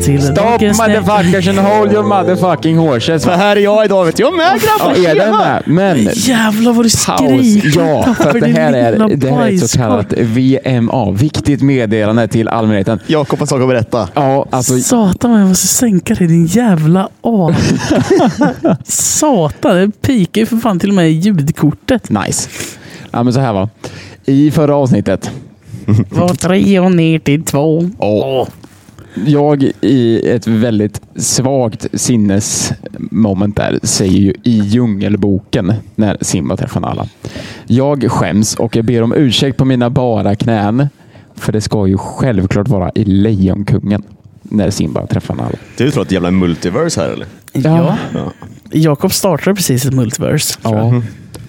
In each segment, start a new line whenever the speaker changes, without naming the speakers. till.
Stop motherfuckers and hold your motherfucking horses.
För här är jag idag vet du. Jag är med
Ja,
grabbar!
är den
tjena!
med? Men
Jävlar vad du
paus.
skriker
Ja, för att det här är, det här är ett så kallat VMA. Viktigt meddelande till allmänheten.
Jakob har en sak att berätta.
Ja, alltså
Satan vad jag måste sänka dig din jävla A. Satan, det pikar ju för fan till och med i ljudkortet.
nice. Ja, men så här va. I förra avsnittet
Var tre och ner till två.
jag i ett väldigt svagt sinnesmoment där säger ju i djungelboken när Simba träffar Nala. Jag skäms och jag ber om ursäkt på mina bara knän. För det ska ju självklart vara i Lejonkungen när Simba träffar Nala.
Du tror att det är jävla multiverse här eller?
Ja. Jakob startade precis ett multiverse.
ja.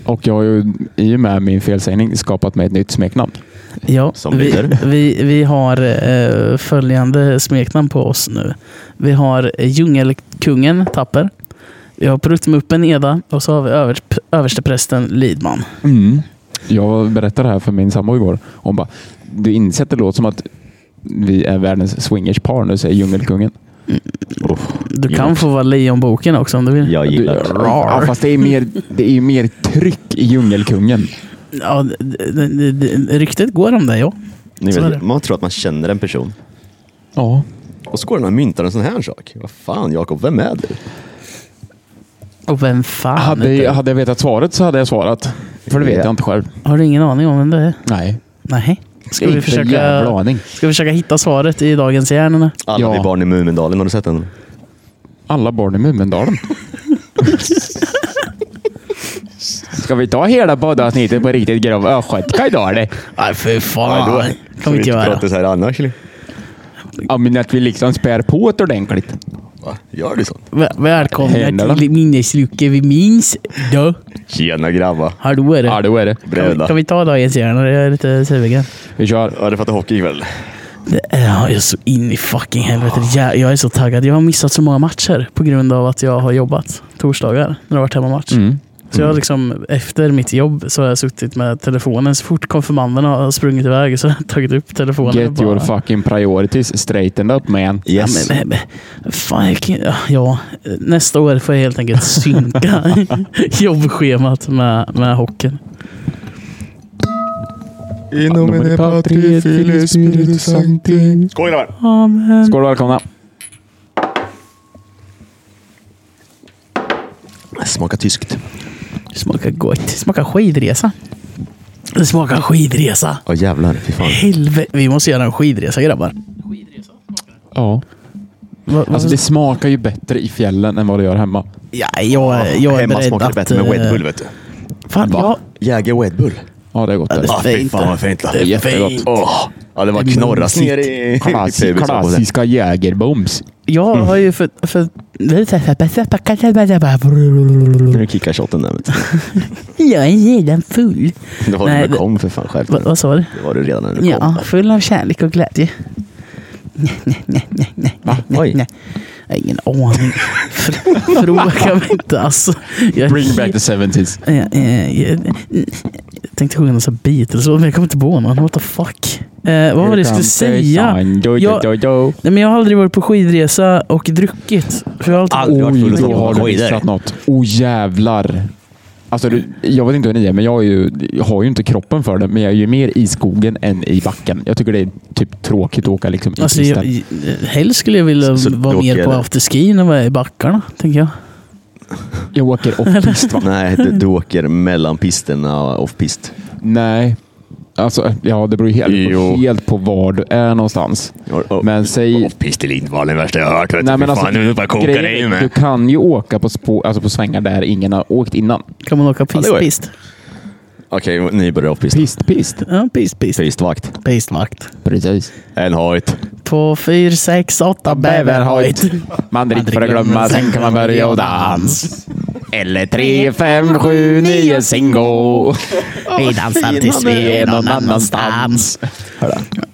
Och jag har ju i och med min felsägning skapat mig ett nytt smeknamn.
Ja,
Som
vi,
lyder.
vi, vi har eh, följande smeknamn på oss nu. Vi har Djungelkungen Tapper. Vi har Pruttmuppen Eda och så har vi över, översteprästen Lidman.
Mm. Jag berättade det här för min sambo igår. Hon bara, du inser att det låter som att vi är världens swingerspar nu, säger Djungelkungen.
Du kan få vara Lejonboken också om du vill.
Jag gillar det.
Ja, fast det är mer, det är mer tryck i Djungelkungen.
Ja, d- d- d- d- ryktet går om det, ja.
Ni
Så är det.
vet, man tror att man känner en person.
Ja.
Och så går den och myntar en sån här sak. Vad fan Jakob, vem är du?
Och vem fan
Hade,
inte?
jag- hade jag vetat svaret så hade jag svarat. För det vet
Ja.
jag inte själv.
Har du ingen aning om vem det är?
Nej.
Nej. Ska vi
Inte en
försöka,
jävla aning.
ska vi försöka hitta svaret i dagens hjärna?
Alla
Ja.
vi barn i Mumindalen, har du sett den?
Alla barn i Mumindalen. Ska vi ta hela poddavsnittet på riktigt grov östgötska idag eller?
Nej, fy fan.
då
kan vi inte göra.
prata Ah, så här annars. eller?
Ja, men att vi liksom spär på det ordentligt.
Va? Gör du sånt?
Väl- Välkomna
Händerna.
till minnesluckan vi minns. Då.
Tjena grabbar.
Hallå är
Ja,
det.
då är det.
Kan vi,
Bröda.
kan vi ta dagens hjärna? Jag är lite sugen.
Vi kör.
Ja, det fattar hockey ikväll.
Det är- Jag är så in i fucking helvete. Jag, jag är så taggad. Jag har missat så många matcher på grund av att jag har jobbat torsdagar när det har varit hemmamatch.
Mm.
Så jag har liksom, efter mitt jobb så har jag suttit med telefonen. Så fort konfirmanderna har sprungit iväg så har jag tagit upp telefonen. och
Get
bara-
your fucking priorities straightened up man.
Yes.
Ja, men, men, men, fan, jag kan, ja, nästa år får jag helt enkelt synka jobbschemat med, med hockeyn.
In nomine Patri, Filii, Spiritus Sancti. Skål grabbar!
Amen.
Skål och välkomna.
Smaka tyskt.
Smakar gott. Smakar skidresa. Det smakar skidresa.
Ja jävlar, fy fan.
Helvete, vi måste göra en skidresa grabbar.
Ja.
Va, va,
Alltså det smakar ju bättre i fjällen än vad det gör hemma.
ja, jag, jag är
Hemma
beredd
smakar det
att...
bättre med
eh,
Red Bull vet du.
Fan,
Va?
ja,
Jäger Red Bull.
Ja, det är gott. det.
Ja,
Ah, fy
fint.
fan vad fint. va?
Det är
Jättegott.
fint.
Åh. Ja, det var
Det är
knorras
mysigt.
ner i... i
Klassi,
pubis, höll jag på att säga.
klassiska jägerbombs.
jag har ju för... för
Nu kickar shotten där. vet du.
jag är redan full.
Det var du
Nej,
när du
det-
kom för fan. Skärp
Vad
dig.
vad sa du?
Det var du redan när du kom.
Ja, full av kärlek och glädje. Nej, nej, nej, nej, nej, nej, nej,
Oj.
nej. Jag har ingen aning. Fr- Fråga mig inte alltså. Jag,
Bring back the 70s.
Jag, jag, jag, jag tänkte sjunga någon sån här Beatles-låt, men jag kommer inte på någon. What the fuck? Eh, vad var det jag skulle säga? Jag-
Jag...
Nej, men jag har aldrig varit på skidresa och druckit. För jag har alltid...
Aldrig varit
Oj,
full
då har du
Oj, där.
missat något. Oh jävlar. Alltså, du, jag vet inte hur ni är, men jag, är ju, jag har ju inte kroppen för det. Men jag är ju mer i skogen än i backen. Jag tycker det är typ tråkigt att åka liksom, i
Alltså,
pisten.
jag, helst skulle jag vilja
Så- så
vara
du
mer
åker-
på afterskin än vad jag är i backarna, tänker jag.
Jag åker off-pist va?
Nej, du, du åker mellan pisterna och off-pist.
Nej. Alltså, ja, det beror ju
Jo.
helt, helt på var du är någonstans.
Och- och-
Men säg...
Off-pist i Lindvallen, värsta jag har hört. Vet
Nej, men
Fy
alltså,
fan, nu bara kokar det in
grejen, du
med.
kan ju åka på, spå, alltså på svängar där ingen har åkt innan.
Kan man åka
Ja, det går ju.
pist-pist?
Okej, nybörjare off-pist.
Pist, pist.
Ja, pist-pist.
Pistvakt.
Pistvakt.
Precis.
En hojt.
Två, fyra, sex, åtta bäverhojt.
Man dricker för att glömma, sen kan man börja och dans. Eller tre, fem, sju, nio, singo.
Vi dansar tills vi är någon annanstans.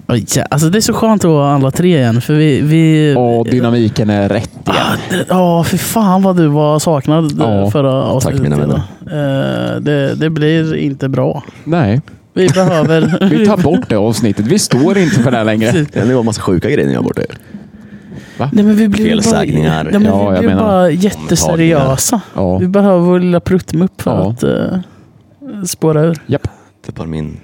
Oj, ja, Alltså det är så skönt att vara alla tre igen. För vi... vi
Och dynamiken är rätt igen.
Ah, det- Ja, för fan vad du var saknad
Ja,
förra avsnittet.
mina vänner.
Eh, det, det blir inte bra.
Nej,
Vi behöver...
vi tar bort det avsnittet. Vi står inte för det här längre.
Det var en massa sjuka grejer ni har borta er.
Va?
Nej, men vi blir ju bara,
Felsägningar.
nej, men
Ja,
vi
jag
blir ju
menar.
bara jätteseriösa.
Ja.
Vi behöver vår lilla pruttmupp för
Ja.
att eh, spåra ur.
Japp.
Tappar min,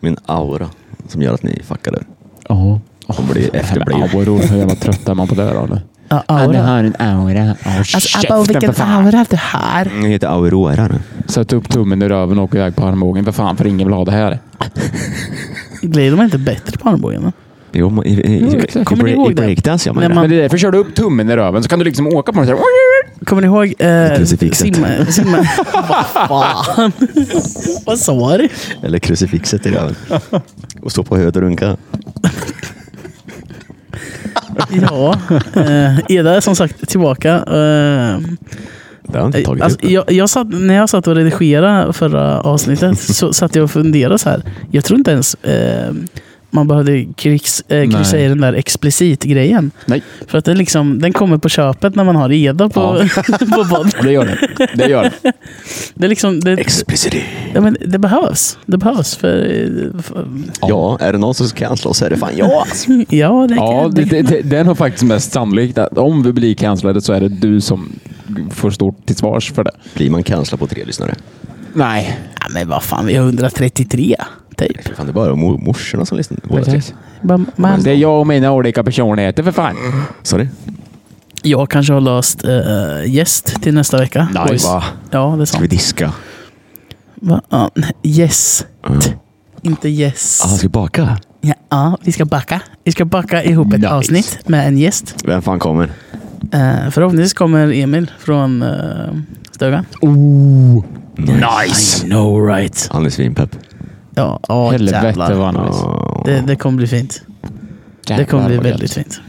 min aura som gör att ni fuckar ur.
Ja.
De blir efterblivna.
Auror, hur jävla trött är man på det då? nu?
Ja,
Han
aura.
har en aura. Alltså, Åh, käften, för fan.
du har.
Ni heter Aurora nu.
Sätt upp tummen i röven och åk iväg på armbågen. För fan, för ingen vill ha det här.
Glider man inte bättre på armbågen? va?
Jo, men i, i, i,
exakt.
i,
Kommer ni
bre-
ihåg
i
det?
breakdance gör man
När
ju det.
man-
Men det är därför kör du upp tummen i röven så kan du liksom åka på den. Så här.
Kommer ni ihåg eh,
Krucifixet.
simma... simma. Vad fan? Vad sa du?
Eller krucifixet i röven. Och stå på huvudet och runka.
Ja, eh, Eda är som sagt tillbaka. Eh,
Det har jag inte tagit
alltså,
upp.
jag, jag satt, när jag satt och redigerade förra avsnittet så satt jag och funderade så här. Jag tror inte ens eh, man behövde krigs, eh, kryssa i
Nej.
den där explicit-grejen.
Nej,
För att det liksom, den kommer på köpet när man har Eda på, på podd.
det gör det. Det gör det.
Det, är liksom, det,
Explicit.
ja, men det behövs. Det behövs. För, eh, för,
Ja, är det någon som kan slå så är det fan jag. alltså.
ja, det,
Ja,
kan,
det, det, det, den har faktiskt mest sannolikt att om vi blir cancellade så är det du som får stå till svars för det.
Blir man cancellad på tre lyssnare?
Nej.
Ja, men vad fan, vi har 133 typ.
Fy Fan, det är bara mor- morsorna som lyssnar. Båda tre.
Bara, Man,
Det är jag och mina olika personligheter för fan.
Mm.
Sorry.
jag kanske har löst eh, gäst till nästa vecka.
Nice.
Va?
Ja, det är
Ska vi
sant.
diska?
Va? Ja, nej, yes.
Ja.
Inte yes.
Ah, ska vi baka?
Ja, ja, vi ska backa. Vi ska backa ihop ett
Nice.
avsnitt med en gäst.
Vem fan kommer?
Eh, förhoppningsvis kommer Emil från eh, Stugan.
Nice!
I know right.
Han är svinpepp.
Ja, åh,
Helvete
jävlar.
vad nice.
Ah.
Det, det kommer bli fint. Det kommer bli
Jävlar, vad
väldigt fint.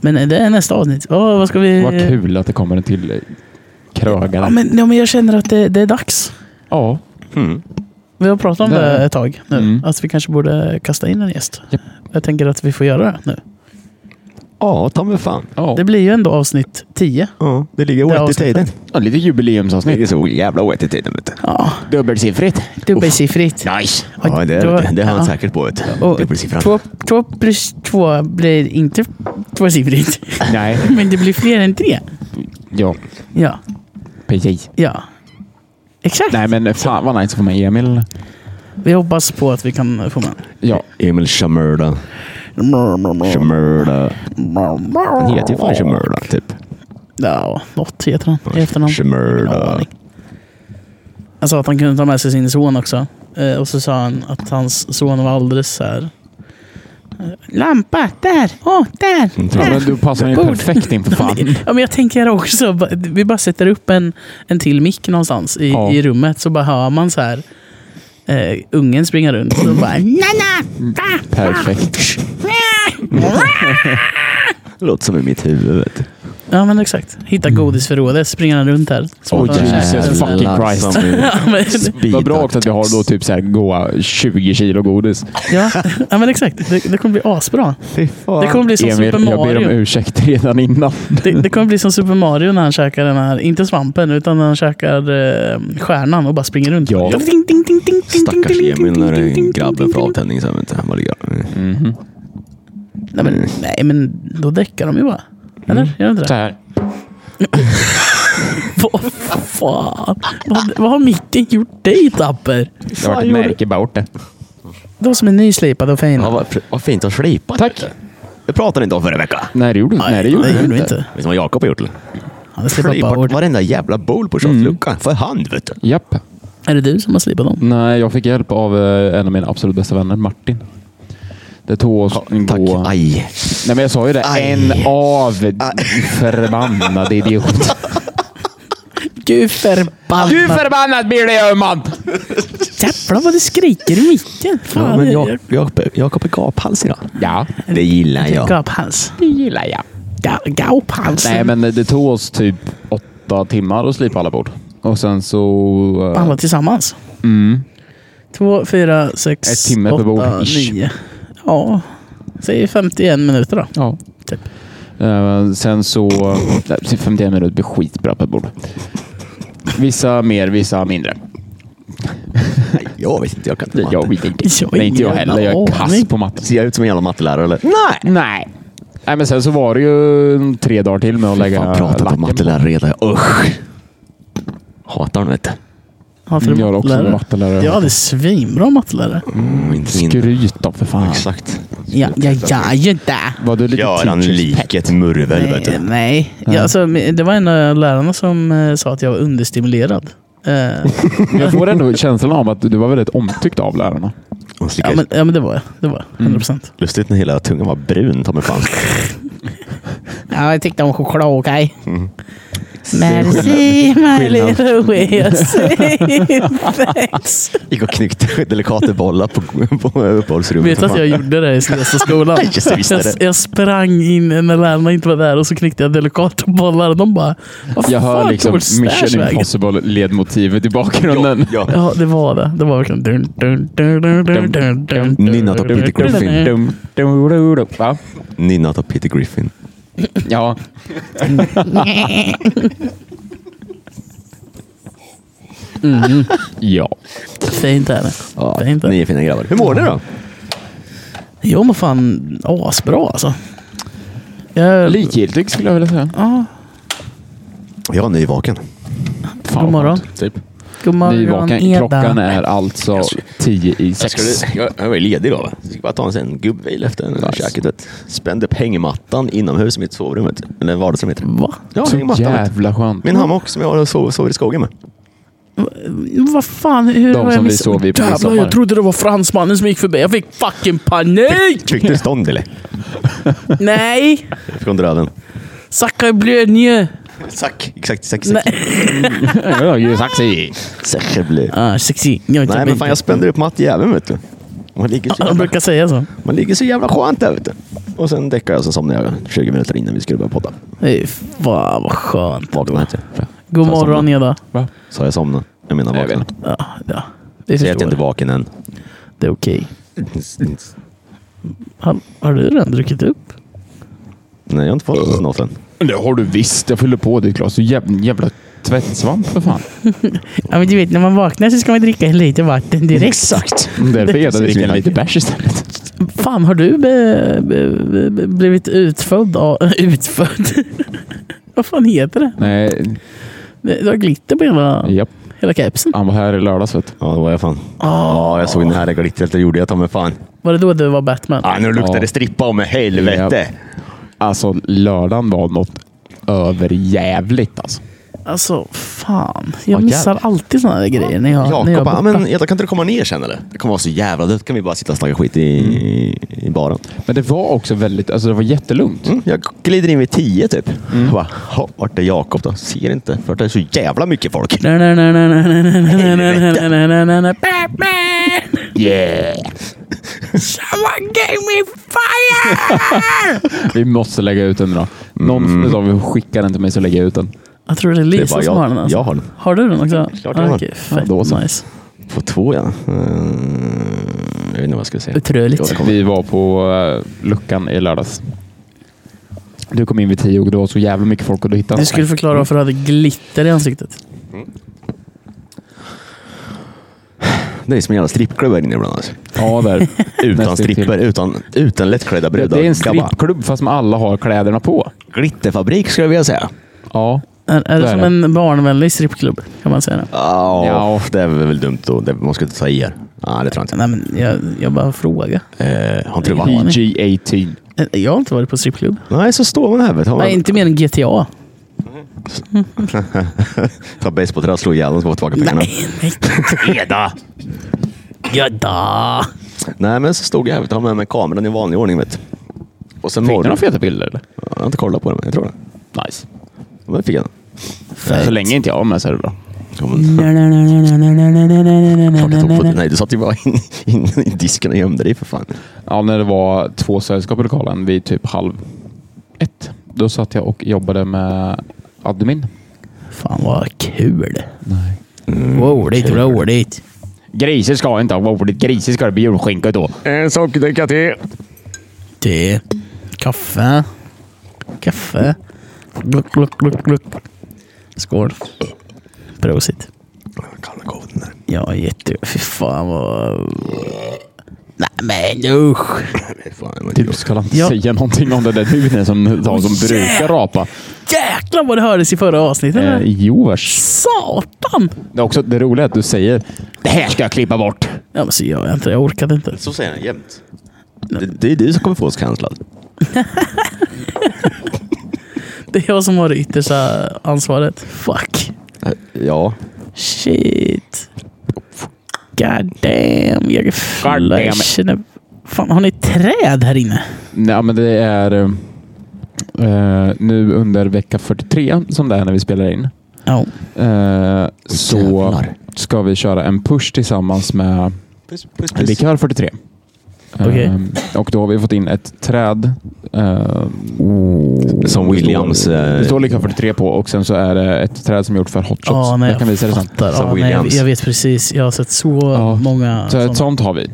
Men eh, det är nästa avsnitt. Åh, vad ska vi...
gött. Vad kul att det kommer en till eh,
Ja
krögare.
men, ja, men jag känner att det, det är dags.
Ja.
Mm.
Vi har pratat om
Det-
det ett tag nu.
Mm.
Att vi kanske borde kasta in en gäst.
Japp.
Jag tänker att vi får göra det nu.
Ja, ta mig fan.
ja.
Det blir ju ändå avsnitt 10.
Ja, det ligger
Det
wet i
avsnittet.
tiden.
Ja, lite
Det ligger
jubileumsavsnitt.
så jävla wet i tiden. Vet du.
Ja,
Dubbelsiffrigt.
dubbelsiffrigt.
Nice.
Ja, det,
Då-
det, det har han
ja.
säkert på. Vet du.
Och
Dubbelsiffran.
två, två plus två blir inte tvåsiffrigt.
Nej.
Men det blir fler än tre.
Ja,
Ja,
precis.
ja. Exakt.
Nej men fan vad nice att få med Emil.
Vi hoppas på att vi kan få med.
Ja.
Emil Shamurda. Shamurda. Han heter ju fan Shamurda, typ.
Ja, något heter han i efternamn. Ingen
Shamurda.
aning. Han sa att han kunde ta med sig sin son också. Eh, och så sa han att hans son var alldeles så här. eh, Lampa, där! Åh, där!
Ja, men
där.
du passar ju
Bord.
perfekt in för fan.
Ja, men jag tänker också, ba- vi bara sätter upp en, en till mick någonstans i,
Ja.
i rummet så bara hör man så här eh, ungen springa runt och bara Nanna!
Perfekt.
Låter som i mitt huvud. Vet du.
Ja men exakt. Hitta godisförrådet, springer han runt här.
Oh,
Smarta-
Mm. Jesus
Ja,
fucking Christ.
men-
Vad bra också att vi har då typ så här goa 20 kilo godis.
ja, ja men exakt, det, det kommer bli asbra. Det kommer bli som
Emil,
Super
jag ber om
Mario.
ursäkt redan innan.
Det, det kommer bli som Super Mario när han käkar den här, inte svampen, utan när han käkar eh, stjärnan och bara springer runt.
Ja.
Ding, ding, ding, ding, ding,
Stackars
ding, ding,
Emil när
ding, ding,
den
ding,
grabben får
ding, ding.
avtändning sen. Vet du. Han bara ligger...
Nej men, nej, men då däckar de ju bara. Eller? Gör de inte
Så
det?
här.
Vad fan? Vad, vad har micken gjort dig Tapper?
Det har varit ett märke bort det.
De som är nyslipade och fina.
Ja, vad, vad fint att slipa.
Tack.
Det pratade ni inte om förra veckan.
Nej, det gjorde du Nej, det gjorde
det
du
gjorde vi
inte.
inte.
Vet du vad Jakob har gjort? eller?
Han har slipat
Slipat
bara ord.
varenda jävla bowl på shotluckan. För hand, vet du.
Japp.
Är det du som har slipat dem?
Nej, jag fick hjälp av eh, en av mina absolut bästa vänner, Martin. Det tog oss en
Tack.
gå...
Aj.
Nej, men jag sa ju det.
Aj.
En av förbannad idiot.
Gud förbannat.
Hur förbannad blir det, man?
Jävlar vad du skriker i micken. Fan,
Ja, men
det-
jag, Jakob, Jakob är gaphals idag.
Ja,
Det gillar jag.
Gaphals.
det gillar jag.
Ga- Gaphals.
Nej, men det tog oss typ åtta timmar att slipa alla bord. Och sen så... eh,
Alla tillsammans.
Mm.
Två, fyra, sex,
Ett timme per
åtta,
bord, ish.
nio. Ja, säg 51 minuter då.
Ja.
Typ.
Eh, sen så... Nej, 51 minuter blir skitbra per bord. Vissa mer, vissa mindre.
Nej, Jag vet inte, jag kan inte matte.
Jag vet inte.
Jag har
Nej, inte jag
ingen
heller. Jag är
aning.
kass på matte.
Ser jag ut som en jävla mattelärare eller? Nej!
Nej. Nej, men sen så var det ju tre dagar till med att lägga
Fan, prata på
lacken
mattelärare redan. Usch! Hatar honom vet du.
Hatar
Mm,
du
Jag har också
mattelärare?
mattelärare.
Jag hade svinbra mattelärare.
Mm, inte min.
Skryt då för fan.
Exakt.
Ja, ja, jag är ju där.
Var du lite
Göran
teacher's
lik
pet?
ett murvel vet
Nej,
du.
nej. Ja, alltså, det var en av lärarna som eh, sa att jag var understimulerad. Eh,
Men Jag får ändå känslan av att du var väldigt omtyckt av lärarna.
Hon slickar
ja, men, ja, men det var jag. Det var
Mm.
jag. 100%.
Lustigt när hela tungan var brun, ta mig fan.
Ja, jag tyckte om choklad, okej?
Mm.
Merci, my
Skillnad.
little way of saying thanks.
Gick och knyckte delikata bollar på, på uppehållsrummet.
Vet du att jag gjorde det i Snestaskolan?
Nej, just det, visst är
jag,
det.
jag sprang in när lärarna inte var där och så knyckte jag delikata bollar. De bara, vad
Jag hör
fan
liksom
tog Stash
Mission
vägen?
Impossible-ledmotivet i bakgrunden.
Ja, ja.
Ja, det var det. Det var verkligen... dun, dun, dun, dun, dun, dun, dun, dun,
Nynnat av Peter
dun, dun, dun.
Griffin.
Dum, dum, dum, dum, va?
Nynnat av Peter Griffin.
Ja. Mm. Ja.
Fint är det.
Ja,
Fint är
ni
det.
är fina grabbar. Hur mår ni då?
Jo, men fan asbra alltså. Jag...
Likgiltig skulle jag vilja säga.
Ja,
Jag är nyvaken.
Fan,
God morgon.
skönt.
Typ.
god morgon
Nyvaken.
Eda.
Klockan är alltså tio i
Jag,
sex.
skulle, jag, jag var ju ledig idag. va? Jag skulle bara ta en, sen gubbvil efter nice. käket. Vet. Spände upp hängmattan inomhus i mitt sovrum. Vet. Eller vardagsrum heter det.
Va?
Ja,
Så
hängmattan. vet.
jävla skönt.
Min hammock som jag har och sover, sover i skogen med.
Vad fan, hur
De
har jag
som vi
missat?
sov i på
Jävlar,
midsommar.
jag trodde det var fransmannen som gick förbi. Jag fick fucking panik!
Fick du stånd eller?
Nej!
Jag fick ont i röven.
Sacre bleu nu!
Sack. Exakt, sack, sack.
Nej.
Ja, ju saxig.
Säker blir.
Ah, sexy. Jag är inte
Nej men fan jag
bättre.
spände upp mattjäveln vet du. Man ligger, så
De
jävla,
brukar säga så.
man ligger så jävla skönt där vet du. Och sen däckar jag så somnade jag 20 minuter innan vi skulle börja podda.
Fy Fan vad skönt.
Vakna hette jag.
God
Så jag
morgon
somnade.
Eda.
Sa jag somna? Jag menar
Jag
vakna.
vet.
Ja, ja. Det
Säg att jag
förstår
inte är
jag.
vaken än.
Det är okej. Har, har du redan druckit upp?
Nej jag har inte fått något än.
Det har du visst. Jag fyller på ditt glas. Du jävla, jävla tvättsvamp för fan.
Ja, men du vet när man vaknar så ska man dricka lite vatten direkt.
Exakt.
Därför är det
precis
dricker
min
lite bärs istället.
Fan, har du be, be, be, be, blivit utfödd av... Utfödd? Vad fan heter det?
Nej,
Det- Du har glitter på hela,
japp.
hela kepsen.
Han var här i lördags vet du.
Ja det var jag fan.
Ah.
Ja jag såg den här glittret. Det gjorde jag ta mig fan.
Var det då du var Batman?
Ah, nu luktar
Ja.
det strippa om mig. Helvete.
Alltså lördagen var något överjävligt alltså.
Alltså, fan. Jag
Åh,
missar alltid såna här grejer när jag, när jag är
Jakob bara,
borta.
"Ah, men Edvard, kan inte du komma ner sen eller? Det kommer vara så jävla dött. Kan vi bara sitta och snacka skit i, i baren?
Men det var också väldigt, alltså det var jättelugnt.
Mm, jag glider in vid tio typ.
Mm.
Jag bara, "Ha, vart är Jakob då? Ser inte. För det är så jävla mycket folk.
Batman!
Yeah!
Someone gave me fire!
Vi måste lägga ut den idag. Någon sa vi skickar den till mig så lägger jag ut den.
Jag tror det är
Det är
Lisa
bara
som
jag-
har den. Alltså.
jag har den.
Har du den också?
Klart jag har den.
Okej, fett
då så.
nice.
På två ja. Mm, jag vet inte vad jag ska säga.
Otroligt.
Jag kommer-
Vi var på eh, luckan i lördags. Du kom in vid tio och det var så jävla mycket folk och du hittade
Du skulle förklara varför du hade glitter i ansiktet.
Det är som en jävla strippklubb här inne ibland. Alltså.
Ja, där.
Utan
Nästan till.
stripper, utan, utan lättklädda
Det,
brudar.
är en
Grabbar.
strippklubb fast med alla har kläderna på.
Glitterfabrik skulle jag vilja säga.
Ja.
Är, är
Det
det
är
som
det.
en barnvänlig strippklubb? Kan man säga det?
ja,
Ja.
det är väl dumt då. Det, man ska inte ta i er. Nej, det tror jag inte.
Nej, men jag, jag bara frågar.
Eh, har inte du varit?
Ja.
PG-18.
Eh, Jag har inte varit på strippklubb.
Nej, så står man här. Vet, har man,
Nej, inte mer än GTA.
Ta basebollträ och slå ihjäl dem så får man tillbaka pengarna.
Nej, nej.
Eda!
Ja, da.
Nej, men så stod jag här. vet du, Jag har med mig kameran i vanlig ordning. Vet. du. Och sen
Fick du
morgon...
några feta bilder eller?
Jag har inte kollat på det, men jag tror det.
Nice.
Men det fick jag den.
Så länge inte jag var med så är det bra.
Ja, men- Klart jag tog på det. Nej, du satt ju bara in, in, i disken och gömde dig för fan.
Ja, när det var två sällskap i lokalen vid typ halv ett. Då satt jag och jobbade med admin.
Fan vad kul. Mm, Roligt, roligt.
Griser ska inte ha ordet. Griser ska det bli julskinka då.
En sockerdricka till.
Te. Kaffe. Kaffe. Gluck, gluck, gluck, gluck. Skål. Prosit.
Kalla koden där.
Ja, jätte... Fy fan vad... Nej men usch.
Nej, fan, det var inte
Du
gott.
ska väl inte
Ja.
säga någonting om den där duden som de som brukar rapa.
Jäklar vad det hördes i förra avsnittet.
Eh, jo, vars.
Satan!
Det är också det roliga är att du säger det här ska jag klippa bort.
Ja men så gör jag inte Jag orkade inte.
Så säger han jämt. Det, det är du som kommer få oss cancellad.
Det är jag som har det yttersta ansvaret. Fuck.
Eh, Ja.
Shit. God damn. Jag är
God
full.
damn
Jag
it.
känner... Fan, har ni träd här inne?
Nej, men det är eh, nu under vecka 43 som det är när vi spelar in.
Ja.
Eh, så
jävlar.
ska vi köra en push tillsammans med
Puss, puss,
en
puss.
likör 43.
Okej.
Eh, och då har vi fått in ett träd. eh,
Oh. Som Williams...
Det
Eh,
står likör 43 på och sen så är det ett träd som är gjort för hot shots.
Ja, nej,
jag kan visa det sen.
fattar.
Som
Ja, nej, jag,
Williams.
jag vet precis. Jag har sett så
Ja.
många.
Så ett
sådana.
sånt har vi.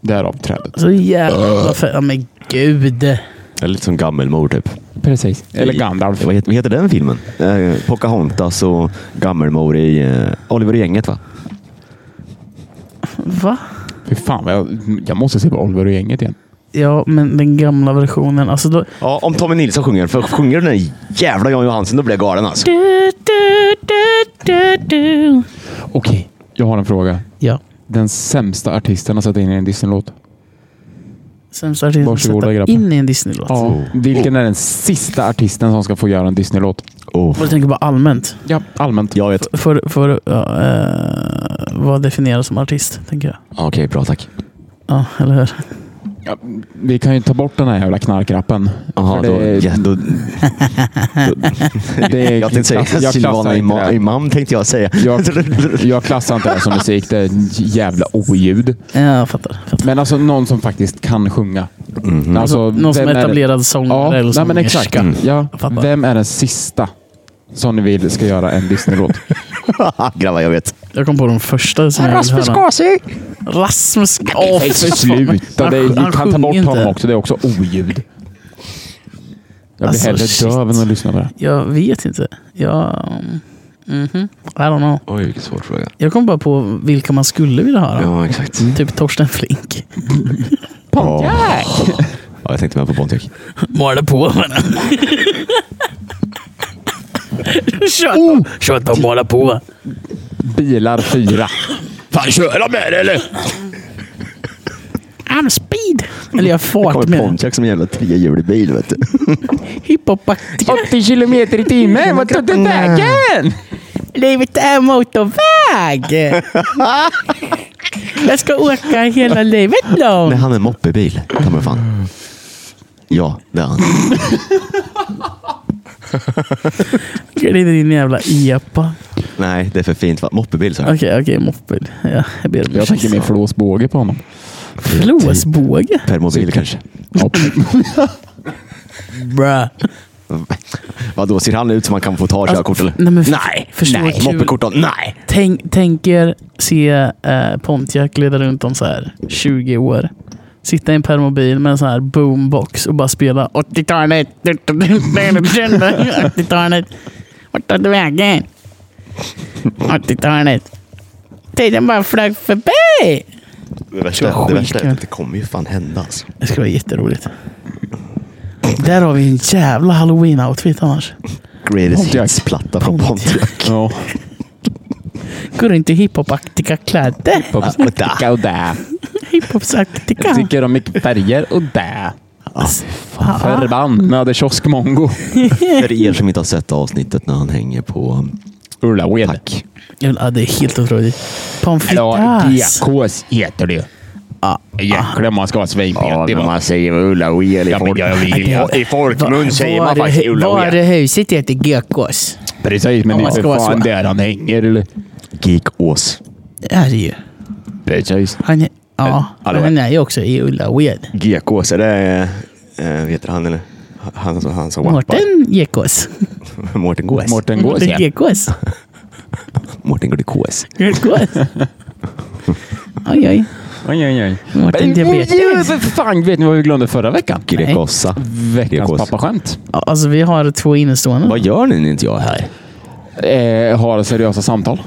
Därav trädet.
Så jävla fett. Ja men gud.
det är lite som Gammelmor typ.
Precis. Eller Gandalf.
Vad heter, vad heter den filmen? Eh, Pocahontas och Gammelmor i eh, Oliver och gänget va?
Va?
Fy fan, vad jag, jag måste se på Oliver och gänget igen.
Ja, men den gamla versionen. Alltså då...
Ja, om Tommy Nilsson sjunger. För sjunger den där jävla Jan Johansson, då blir jag galen alltså.
Du, du, du, du, du.
Okej, jag har en fråga.
Ja.
Den sämsta artisten har satt in i en Disney-låt.
Sämsta artisten att
Varsågoda,
sätta
grabbar.
in i en Disney-låt.
Vilken är den sista artisten som ska få göra en Disney-låt?
Oh.
Och du tänker bara allmänt.
Ja, allmänt.
Jag vet.
För, för ja, eh, vad definieras som artist, tänker jag.
Okej, bra tack.
Ja, eller hur?
Ja, vi kan ju ta bort den här jävla knarkrappen.
Jaha,
För
då,
det,
ja, då,
det är
jag tänkte
klass-
säga
jag klassar
Silvana
inte det.
Ima- Imam tänkte jag säga.
Jag, jag klassar inte det här som musik. Det är en jävla oljud.
Ja, jag fattar. fattar.
Men alltså någon som faktiskt kan sjunga.
Mhm.
Alltså,
Någon som
vem
är
det-
etablerad sångare
Ja,
eller
nej,
sångerska.
men exakt. Ja.
Jag fattar.
Vem är den sista som ni vill ska göra en Disney-låt?
Grabbar, jag vet.
Jag kom på den första som jag vill höra.
Gasig!
Rasmus Åh,
Nej,
fy fan.
sluta! Det,
Han-
du
han
kan ta
sjunger
bort honom
inte.
också. Det är också oljud. Jag blir
Alltså,
hellre
shit.
döv än att lyssna på det.
Jag vet inte. Jag... mm, mhm. I don't know.
Oj, vilken svår fråga.
Jag kom bara på vilka man skulle vilja höra.
Ja, exakt.
Typ Torsten Flink.
Pontiac! Ja, jag tänkte med på Pontiac.
Måla på honom. Kör oh! Kör att måla på.
Bilar 4.
Fan, kör de med det eller?
I'm speed. Eller jag har fart
Kommer
med.
Pontiac som en jävla trehjulig bil vet du.
Hiphopaktig.
80 kilometer i timmen! Vad tog den vägen?
Livet är motorväg. jag ska åka hela livet
Nej,
långt.
han är en moppebil. Ta mig fan. Ja, det är han.
Glider in i en jävla epa.
Nej, det är för fint. Va? Moppebil sa jag.
Okej, okej, moppel. Ja, jag ber om
Jag tänker
ursäkt.
mer flåsbåge på honom.
Flåsbåge?
Permobil kanske.
Bruh.
Vadå, ser han ut som man kan få ta körkort eller?
Alltså, nej, men för-
Alltså,
förstå
nej, nej.
vad kul.
moppekort då? Nej.
Tänk, tänk er se eh, Pontiac glida runt om så här 20 år. Sitta i en permobil med en sån här boombox och bara spela 80-talet. 80-talet. Vart tog du vägen? 80-talet. Tiden bara flög förbi.
Det värsta, det värsta är att det kommer ju fan hända alltså.
Det skulle vara jätteroligt. Där har vi en jävla halloween-outfit annars.
Greatest
Pontiac.
Hits-platta från Pontiac.
Ja.
Går inte i hiphop-aktiga kläder?
Tycka och dä. Jag
Hiphop-aktiga?
tycker om mycket färger och dä.
Ah, ah.
Förbannade kioskmongo.
För er som inte har sett avsnittet när han hänger på...
Ulla Wed.
Tack.
Ja, det är helt otroligt. Pommes
Ja,
frites.
GKs heter det.
Ja.
Jäklar man ska vara svinpetig. va?
säger Ulla och el
Ja, men jag vill-
Ja,
i folkmun
Varuhuset heter GKs.
Precis, men
Om
det
man
är
ska
för
vara
fan
så.
där han hänger. Eller?
Geekås.
Det är det ju.
Precis.
Han är, ja,
Hallå.
han är ju också i Ullared.
Geekås, är det... Eh, vet du han eller? Han, som- han som wappar.
Mårten GKs.
Mårten Gås.
Mm. Mårten Gås
Mårten
ja.
GKs.
Mårten går till KS.
GKs. Oj, oj.
Oj, oj, oj.
Mårten
Men,
Diabetes.
oj, för Fan, vet ni vad vi glömde förra veckan?
Grekossa.
Veckans
Gekås.
pappaskämt.
Ja, Alltså, vi har två innestående.
Vad gör ni när inte jag är här?
Eh, har seriösa samtal.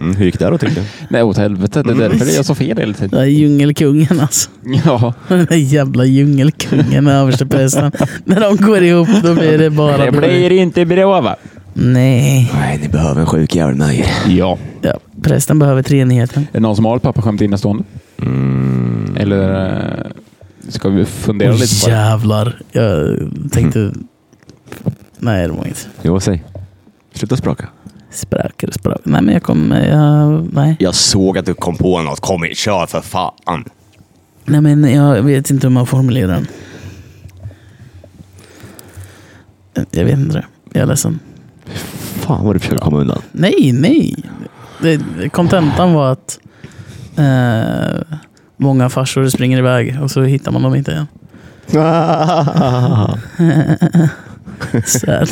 Mm, hur gick det då tyckte du?
Nej, åt helvete. Det är därför jag så fel hela
Den
tiden.
där djungelkungen alltså.
Ja,
Den där jävla djungelkungen och översteprästen. När de går ihop då blir det bara
det blir inte bra va?
Nej.
Nej, ni behöver en sjuk jävel med er.
Ja.
Ja, prästen behöver treenigheten.
Är det någon som har ett pappaskämt innestående? Mm. Eller eh, ska vi fundera
Åh,
lite på det?
jävlar. Jag tänkte... Nej, det var inget.
Jo, säg. Sluta spraka.
Spöker, spöker. Nej, men jag kommer... Jag, nej.
Jag såg att du kom på något. Kom hit, kör för fan.
nej, men jag vet inte hur man formulerar den. Jag vet inte det. Jag är ledsen.
Fan vad du försöker komma undan.
Nej, nej. Det- Kontentan var att eh, många farsor springer iväg och så hittar man dem inte igen. Sad.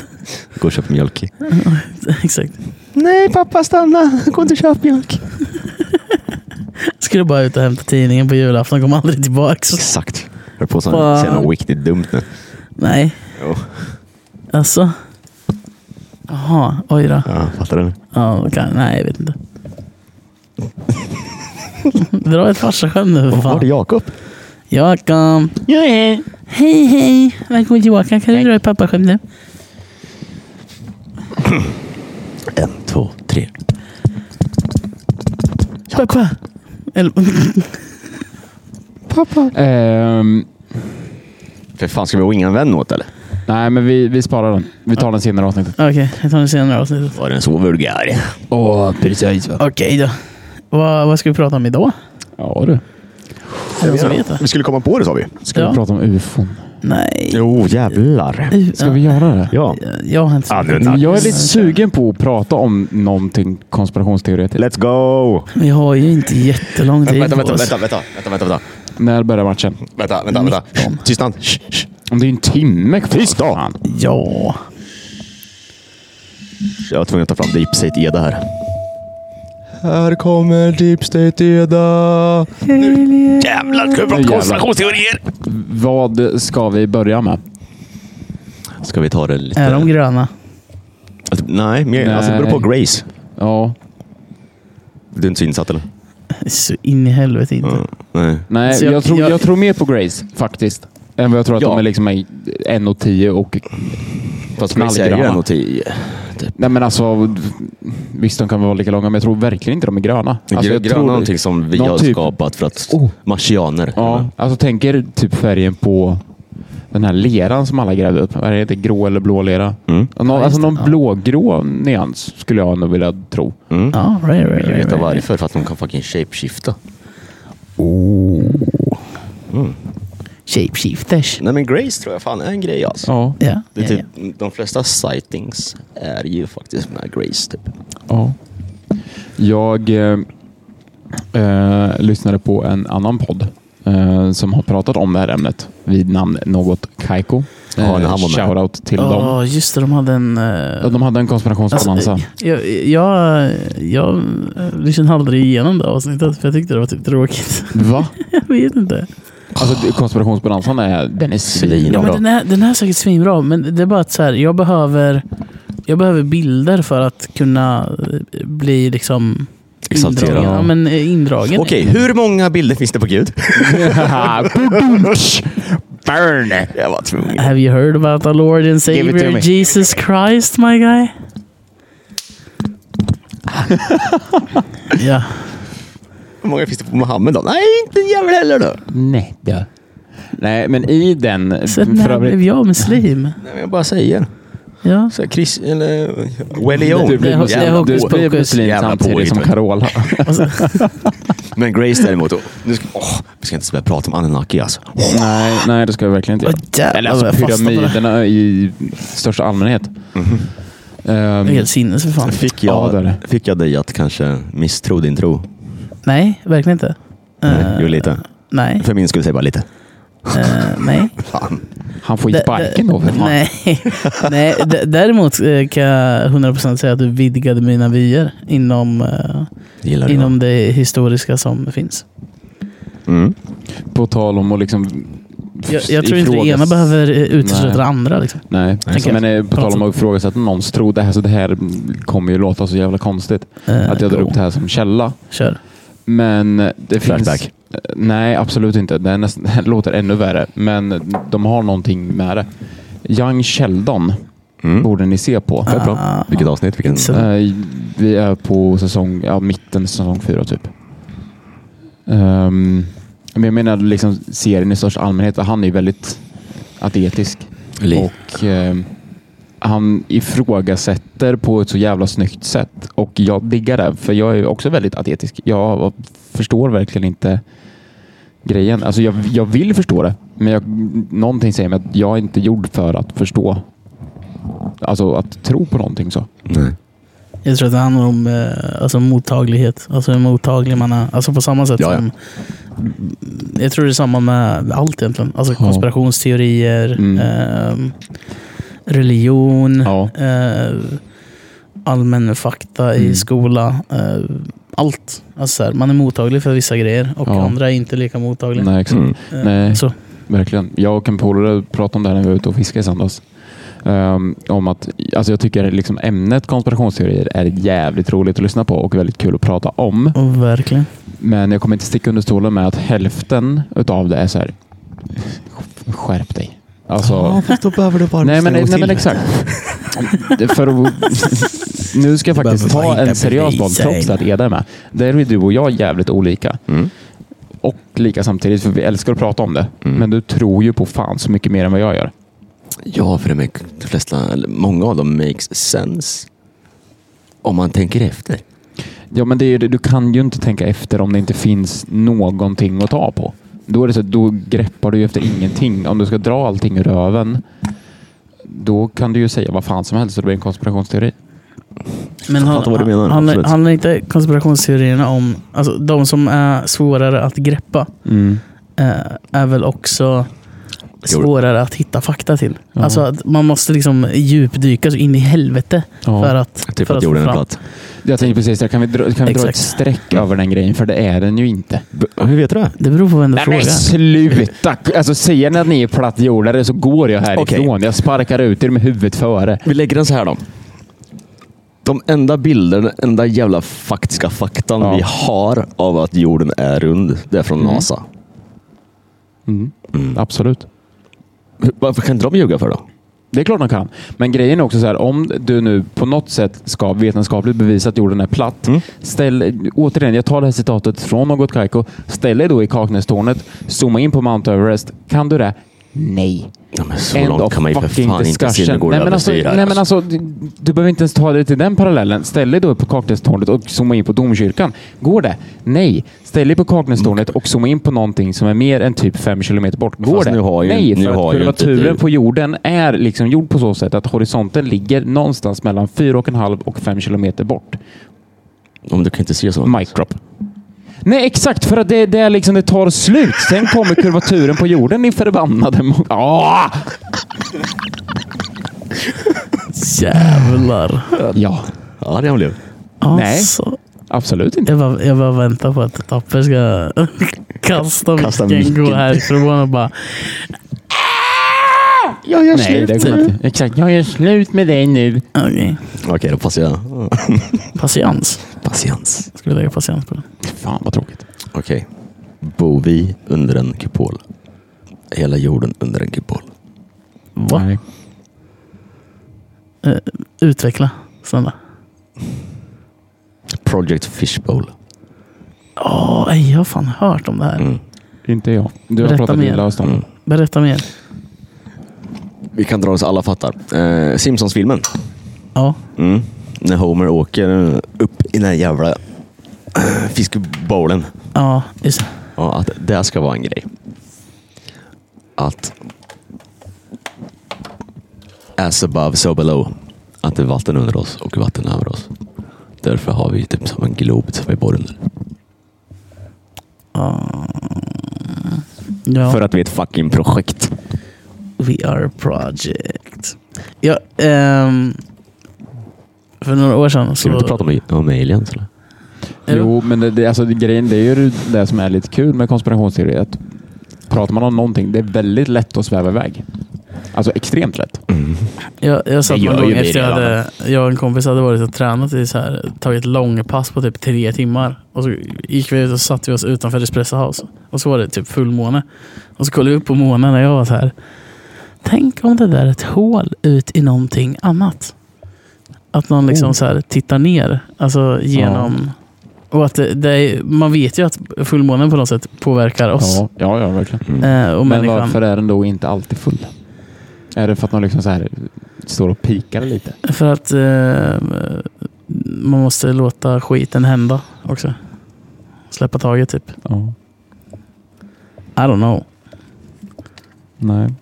Gå och köp mjölk.
Exakt.
Nej pappa stanna, gå inte och köp mjölk.
Skulle bara ut och hämta tidningen på julafton, kom aldrig tillbaks.
Exakt. Jag höll på att
Fan.
säga något riktigt dumt nu.
Nej,
Jo.
alltså. Jaha, oj då.
Ja, fattar du?
Ja, okej. nej, jag vet inte. Dra ett farsaskämt nu för
Var det
fan.
Jakob?
Jakob.
Jag är...
Hej, hej. Välkommen tillbaka. Kan du dra ett pappaskämt nu?
En, två, tre.
Pappa. Eller,
Ehm,
För fan, ska vi winga en vän åt eller?
nej, men vi, vi sparar den. Vi tar den senare i avsnittet.
Okej, jag tar det senare avsnittet.
Var den så vulgär?
Åh, precis va?
Okej då. Vad, vad ska vi prata om idag?
Ja du.
Är det någon som vet det?
Vi skulle komma på det sa vi.
Ska
Ja.
vi prata om ufon?
Nej.
Jo, jävlar.
Ska vi göra det?
Ja.
Jag har inte
Ah, nu är det
sagt det.
natt.
Jag är lite sugen på att prata om någonting konspirationsteoretiskt.
Let's go!
Vi har ju inte jättelång tid
Vänta, vänta,
på oss.
vänta, vänta, vänta, vänta, vänta,
När börjar matchen?
vänta, vänta, vänta. Tystnad. Shh, shh.
Om det är en timme kvar.
Tisdag.
fan.
Ja.
Jag var tvungen att ta fram Deep State Eda här.
Här kommer Deep State Eda. Jävlar, ska vi prata
Jävlar.
konspirationsteorier?
Vad ska vi börja med?
Ska vi ta det lite...
Är de gröna?
Alltså, nej, mer, Alltså, det beror på Grace.
Ja,
Du är inte så insatt eller?
Så in i helvete inte.
Ja, nej.
nej,
Så
jag,
jag-
tror, jag...
jag
tror mer på Grace faktiskt. Än vad jag tror att
Ja.
de är liksom i 1,10 och...
Fast Grace är ju
Knallgröna.
en och tio.
Nej men alltså, visst de kan vara lika långa, men jag tror verkligen inte de är gröna. Alltså, jag
gröna
tror-
är någonting som vi
Någon
har
typ-
skapat för att...
Oh.
Marsianer.
Ja, alltså tänk er typ färgen på den här leran som alla grävde upp. Är det inte grå eller blå lera?
Mm.
Ja, Nå,
Ja,
alltså
just det.
någon
Ja.
blågrå nyans skulle jag nog vilja tro.
Mm.
Ja, right, right,
Jag
right,
vet
right.
inte varför, för att de kan fucking shapeshifta. Mm.
Shapeshifters.
Nej men Grace tror jag fan är en grej alltså.
Ja.
Ja.
Det är
ja,
typ,
ja.
De flesta sightings är ju faktiskt med Grace typ.
ja. Jag eh, eh, lyssnade på en annan podd eh, som har pratat om det här ämnet vid namn Något Kaiko. Eh,
Ja, när han var med.
Shoutout till dem.
Ja, just det. De hade en... eh,
Ja, De hade en konspirationsbalansa.
Alltså, jag, jag, jag eh, lyssnade aldrig igenom det avsnittet för jag tyckte det var typ tråkigt.
Va?
Jag vet inte.
Alltså det- konspirationsbalansan är... Den är
Ja, men den, är, den är säkert svinbra, men det är bara att så här, jag, behöver, jag behöver bilder för att kunna eh, bli liksom
Exalterad.
indragen. Ja, men eh, indragen.
Okej, hur många bilder finns det på Gud?
Burn!
jag var tvungen.
Äh.
Have you heard about the Lord and
it to
Savior
me.
Jesus Christ, my guy? ja,
Hur många finns det på Mohammed då? Nej, inte en jävel heller då.
Nej, då. Nej, men i den...
så när
Mm, för övrigt-
blev jag muslim?
Nej, men jag bara säger.
Ja.
Så här, Chris, eller... Religion.
Du
Det
blir
är- det är
muslim,
hokus
du blir
pokus.
muslim
Jävla
samtidigt
påhitt,
som
vet du.
Carola.
Och så-
typ-
Men Grace däremot. åh, Nu ska, åh, vi ska inte börja prata om Anunnaki alltså.
nej, nej, det ska vi verkligen inte
Åh, jävlar,
Eller alltså
vad jag fastnar på det.
pyramiderna i största allmänhet. Ehm,
Det är helt sinnes för fan.
Fick
Mm. Ja,
jag,
det är det. Äh.
fick jag dig att kanske misstro din tro?
Nej, verkligen inte.
Nej,
Eh,
jo, lite.
Nej.
För min skull säger jag bara lite.
eh, nej.
Fan.
han får ju
D-
sparken
d-
då för fan.
Nej, nej d- däremot eh, kan jag 100% säga att du vidgade mina vyer inom, eh,
Det gillar du, va?
inom det historiska som finns.
Mm.
På tal om att liksom
Jag, jag tror inte det ena
ifrågas-
behöver eh, utesluta
Nej.
det andra. Liksom.
Nej,
tänker
men eh, på
På något
tal om att ifrågasätta någons tro. Det här, så det här kommer ju låta så jävla konstigt.
Eh,
Att jag drar
go.
upp det Mm. här som källa.
Kör.
Men det
Flashback.
finns... Eh, Nej, absolut inte. Det, är nästan, det här låter ännu värre. Men de har någonting med det. Young Sheldon
Mm.
borde ni se på.
Ja, bra. Vilket avsnitt? Vilken...
Så-
Eh, vi är på säsong, ja, mitten säsong fyra typ. Ehm, men jag menar liksom serien i största allmänhet. för Han är ju väldigt atetisk.
Liv.
Och ehm, han ifrågasätter på ett så jävla snyggt sätt. Och jag diggar det, för jag är ju också väldigt atetisk. Jag förstår verkligen inte grejen. Alltså jag, jag vill förstå det, men jag, någonting säger mig att jag är inte gjord för att förstå. Alltså att tro på någonting så.
Nej.
Jag tror att det handlar om eh, alltså, mottaglighet. Alltså hur mottaglig man är. Alltså på samma sätt
Ja, ja.
som... Jag tror det är samma med allt egentligen. Alltså
Ja.
konspirationsteorier,
Mm.
ehm, religion,
Ja.
eh, allmän fakta i
Mm.
skola. eh, allt. Alltså, så här, man är mottaglig för vissa grejer och
Ja.
andra är inte lika mottagliga.
Nej, exakt.
Mm.
Eh,
nej.
Så.
Verkligen. Jag och en polare pratade om det här när vi var ute och fiskade i söndags. Ehm, om att, alltså jag tycker liksom ämnet konspirationsteorier är jävligt roligt att lyssna på och väldigt kul att prata om.
Och verkligen.
Men jag kommer inte sticka under stolen med att hälften utav det är så här. Skärp dig. Alltså,
Ja, fast då behöver du bara
nej, men,
lyssna en gång
nej men
till.
exakt. Det- För att, nu ska jag
Du behöver
faktiskt
bara
ta
hitta
en seriös boll
bevisen.
trots att Eda är med. Där är du och jag jävligt olika.
Mm.
Och lika samtidigt, för vi älskar att prata om det.
Mm.
Men du tror ju på fan så mycket mer än vad jag gör.
Ja, för det make, de flesta, eller många av dem makes sense. Om man tänker efter.
Ja, men det är ju det. Du kan ju inte tänka efter om det inte finns någonting att ta på. Då, är det så, att då greppar du ju efter ingenting. Om du ska dra allting ur röven, då kan du ju säga vad fan som helst så det blir en konspirationsteori.
Men
Jag fattar vad du menar,
handlar,
absolut.
handlar inte konspirationsteorierna om, alltså de som är svårare att greppa,
Mm.
eh, är väl också svårare att hitta fakta till.
Ja.
Alltså att man måste liksom djupdyka så in i helvete för
Ja.
att,
Typ
för
att
att
jorden
få
är
fram.
platt.
Jag tänkte precis det. Kan vi dra, kan vi
Exakt.
dra ett streck över den grejen? För det är den ju inte.
B- Hur vet du det?
Det beror på vem du
Nej men
frågar.
sluta! Alltså säger ni att ni är plattjordare så går jag härifrån. Jag sparkar ut er med huvudet före.
Vi lägger den så här då. De enda bilder, den enda jävla faktiska faktan
Ja.
vi har av att jorden är rund, det är från
Mm.
NASA.
Mm.
Mm.
Absolut.
Hur- Varför kan inte de ljuga för då?
Det är klart de kan. Men grejen är också så här, om du nu på något sätt ska vetenskapligt bevisa att jorden är platt.
Mm.
Ställ, återigen, jag tar det här citatet från något Kaiko. Ställ dig då i Kaknästornet, zooma in på Mount Everest. Kan du det? Nej.
Ja, men så
End
långt
of
kan man ju för
fucking
fan inte se. Nu
discussion.
går
Nej, men alltså,
överstyr här.
nej, men alltså, du, du behöver inte ens ta dig till den parallellen. Ställ dig då på Kaknästornet och zooma in på domkyrkan. Går det? Nej. Ställ dig på Kaknästornet och zooma in på någonting som är mer än typ fem kilometer bort. Går
Fast
det?
nu har ju-
nej,
nu
för
har
att
ju inte
kurvaturen
du-
på jorden är liksom gjord på så sätt att horisonten ligger någonstans mellan fyra och en halv och fem kilometer bort. alltså-
Om du kan inte se så.
Mic drop. Nej, exakt. För att det, det är liksom det tar slut. Sen kommer kurvaturen på jorden i förbannade... mo- Ah!
Jävlar.
Ja,
Ja, det har blev.
Nej.
Alltså,
absolut inte.
jag, bara, jag bara väntar på att Tapper ska kasta,
Kasta
micken, gå
micken.
härifrån och bara
Jag gör Nej, slut det går inte. Exakt. Jag gör slut med dig nu.
okej,
Okej, då passar jag.
patiens.
Patiens.
Ska vi lägga patiens på det?
Fan vad tråkigt.
Okej. Bor vi under en kupol? Hela jorden under en kupol.
Va?
Nej.
Utveckla. Snälla.
Project Fishbowl.
Åh, nej, jag har fan hört om det här.
Mm.
Inte jag. Du har
Berätta
pratat
mer.
illa och mm.
Berätta mer.
Vi kan dra det så alla fattar. Eh, Simpsons-filmen.
Ja.
Mm. När Homer åker upp i den här jävla eh, fiskbowlen.
Ja, just det.
Ja, att det ska vara en grej. Att as above so below. Att det är vatten under oss och vatten över oss. Därför har vi typ som en glob som vi bor under.
Ja.
För att vi är ett fucking projekt.
We are project. Ja, ehm, för några år sedan så...
Ska vi inte prata om, om aliens eller?
Eller?
Jo, men det, det, alltså, det, grejen det är ju det som är lite kul med konspirationsteorier. Att pratar man om någonting, det är väldigt lätt att sväva iväg. Alltså extremt lätt.
Mm.
Jag, jag satt
Det
någon
gör
gång
ju vi
efter jag
redan.
hade, jag och en kompis hade varit och tränat i så här, tagit långpass på typ tre timmar. Och så gick vi ut och satte vi oss utanför Espresso House. Och så var det typ fullmåne. Och så kollade vi upp på månen och jag var så här. Tänk om det där är ett hål ut i någonting annat. Att någon
Oh.
liksom så här tittar ner. Alltså genom... Och att det, det är, man vet ju att fullmånen på något sätt påverkar oss.
Ja, Mm. ja, ja verkligen.
eh, Och
Men
människan.
varför är den då inte alltid full? Är det för att man liksom så här står och pikar lite?
För att eh, man måste låta skiten hända också. Släppa taget typ.
Ja.
I don't know.
Nej.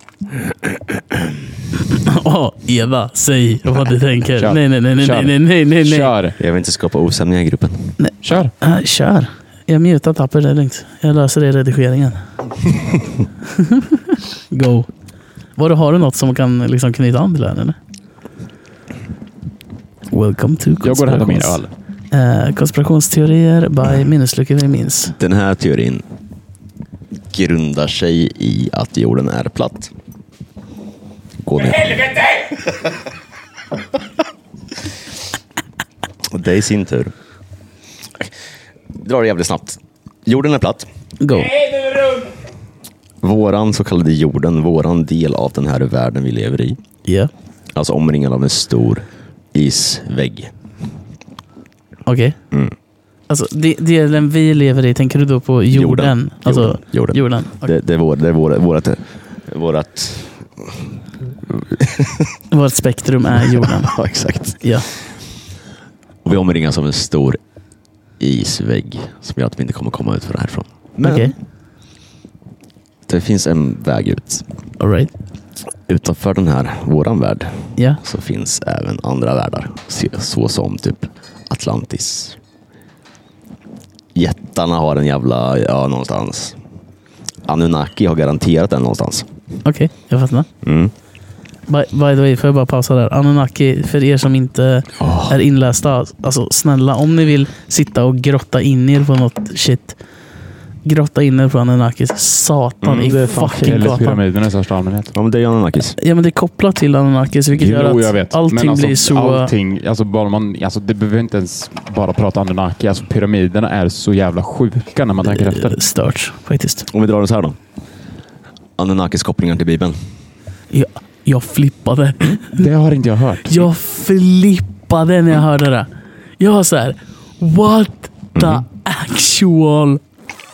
Åh, Eva, säg vad du tänker.
Kör.
Nej, nej, nej, nej,
Kör.
nej, nej, nej, nej.
Kör!
Jag vill inte skapa osämja i gruppen.
Kör!
Ah, kör. Jag mutar tapper, det är lugnt. Jag löser det i redigeringen. Go. Var, har du något som kan liksom knyta an till det här eller? Welcome to
Jag går och hämtar min
konspirations-
öl.
eh, Konspirationsteorier by Minneslycke vi minns.
Den här teorin grundar sig i att jorden är platt. Gå ner. helvete! Och det i sin tur. Drar det jävligt snabbt. Jorden är platt.
Go.
Våran så kallade jorden, våran del av den här världen vi lever i.
Yeah.
Alltså omringad av en stor isvägg.
Okej.
Mm.
Alltså, de, delen vi lever i, tänker du då på jorden?
Jorden.
Alltså,
Jorden.
jorden. Okej.
Det, det är, vår, det är vår, vårat, vårat...
Vårt spektrum är jorden.
Ja, exakt.
ja.
Och vi omringas av en stor isvägg som gör att vi inte kommer komma ut från härifrån. Men
Okej.
det finns en väg ut.
All right.
Utanför den här, våran värld,
Ja.
så finns även andra världar. Se- Så som typ Atlantis. Jättarna har en jävla ö någonstans. Anunnaki har garanterat den någonstans.
Okej, jag fattar.
Mm.
By, by the way, får jag bara pausa där? Anunnaki, för er som inte är inlästa, alltså snälla om ni vill sitta och grotta in er på något shit. Grotta in er på Anunnakis. Satan
Mm,
i fucking
Eller
gatan.
pyramiderna i största allmänhet.
Ja, men det är Anunnakis.
Ja men det är kopplat till Anunnakis vilket gör
Jo,
att
jag vet. Men
allting
alltså,
blir så...
Allting, alltså bara man, alltså det behöver inte ens bara prata Anunnaki. Alltså pyramiderna är så jävla sjuka när man tänker efter.
eh, Stört faktiskt.
Om vi drar det så här då. Anunnakis kopplingar till Bibeln.
Jag, jag flippade.
Det har inte jag hört.
Jag flippade när jag hörde det. Jag var så här. What the
Mm.
actual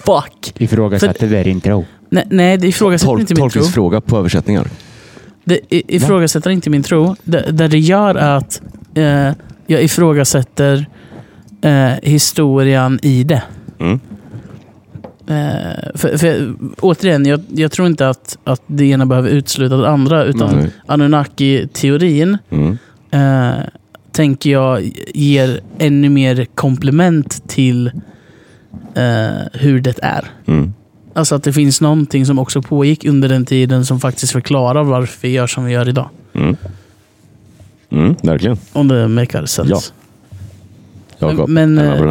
fuck?
Ifrågasätter det intro.
Nej, nej det ifrågasätter
Tol-
inte min tro.
tolkningsfråga på översättningar.
Det i- ifrågasätter inte min tro. Det, det det gör är att eh, jag ifrågasätter eh, historien i det.
Mm.
Eh, för, för, återigen, jag, jag tror inte att, att det ena behöver utesluta det andra. Utan
Nej.
Anunnaki-teorin
Mm.
eh, tänker jag ger ännu mer komplement till eh, hur det är.
Mm.
Alltså att det finns någonting som också pågick under den tiden som faktiskt förklarar varför vi gör som vi gör idag.
Mm. Mm, verkligen.
Om det makar sense.
Ja. Jakob,
Men,
är med på
eh,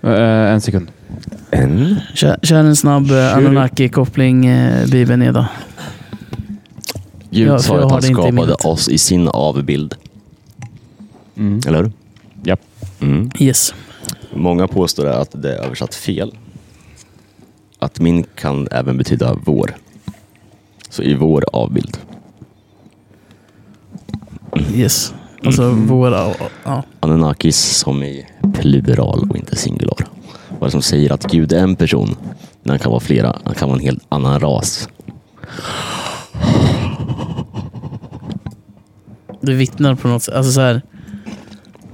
det här.
Eh, en sekund.
En.
Kör, kör en snabb eh, Anunnaki-koppling, eh, Bibeln idag.
Gud
Ja, för
sa
jag
ju
har
att han
det inte i
skapade
minnet.
oss i sin avbild.
Mm. Liksom.
Eller hur?
Japp.
Mm.
Yes.
Många påstår att det är översatt fel. Att min kan även betyda vår. Så i vår avbild.
Yes. Alltså våra... Ja.
Anunnakis som i plural och inte singular. Vad är det som säger att Gud är en person? Men han kan vara flera. Han kan vara en helt annan ras.
Det vittnar på något sätt. Alltså så här,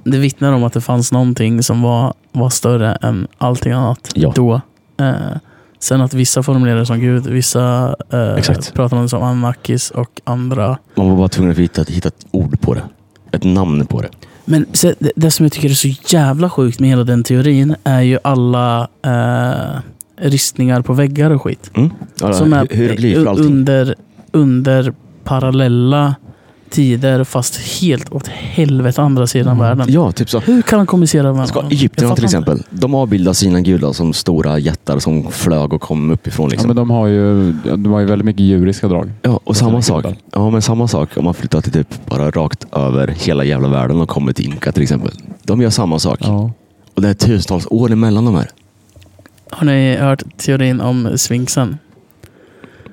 det vittnar om att det fanns någonting som var, var större än allting annat
Ja.
då. Eh, sen att vissa formulerar det som Gud, vissa eh,
Exakt.
pratar om det som Anunnakis och andra.
Man var bara tvungen att hitta, hitta ett ord på det. Ett namn på det.
Men se, det, det som jag tycker är så jävla sjukt med hela den teorin är ju alla eh, ristningar på väggar och skit.
Mm. Ja,
som
hy-
är
hieroglyfer och allting.
under, under parallella tider fast helt åt helvete andra sidan världen.
Ja, typ så.
Hur kan de kommunicera med
Ska
varandra?
Egyptierna
Jag
till
fattar inte.
exempel, de avbildar sina gudar som stora jättar som flög och kom uppifrån.
Ja,
Liksom.
men de har ju, de har ju väldigt mycket djuriska drag.
Ja, och samma
sina
sak.
gudar.
Ja, men samma sak om man flyttar till typ bara rakt över hela jävla världen och kommer till Inka till exempel. De gör samma sak.
Ja.
Och det är tusentals år emellan de här.
Har ni hört teorin om Sphinxen?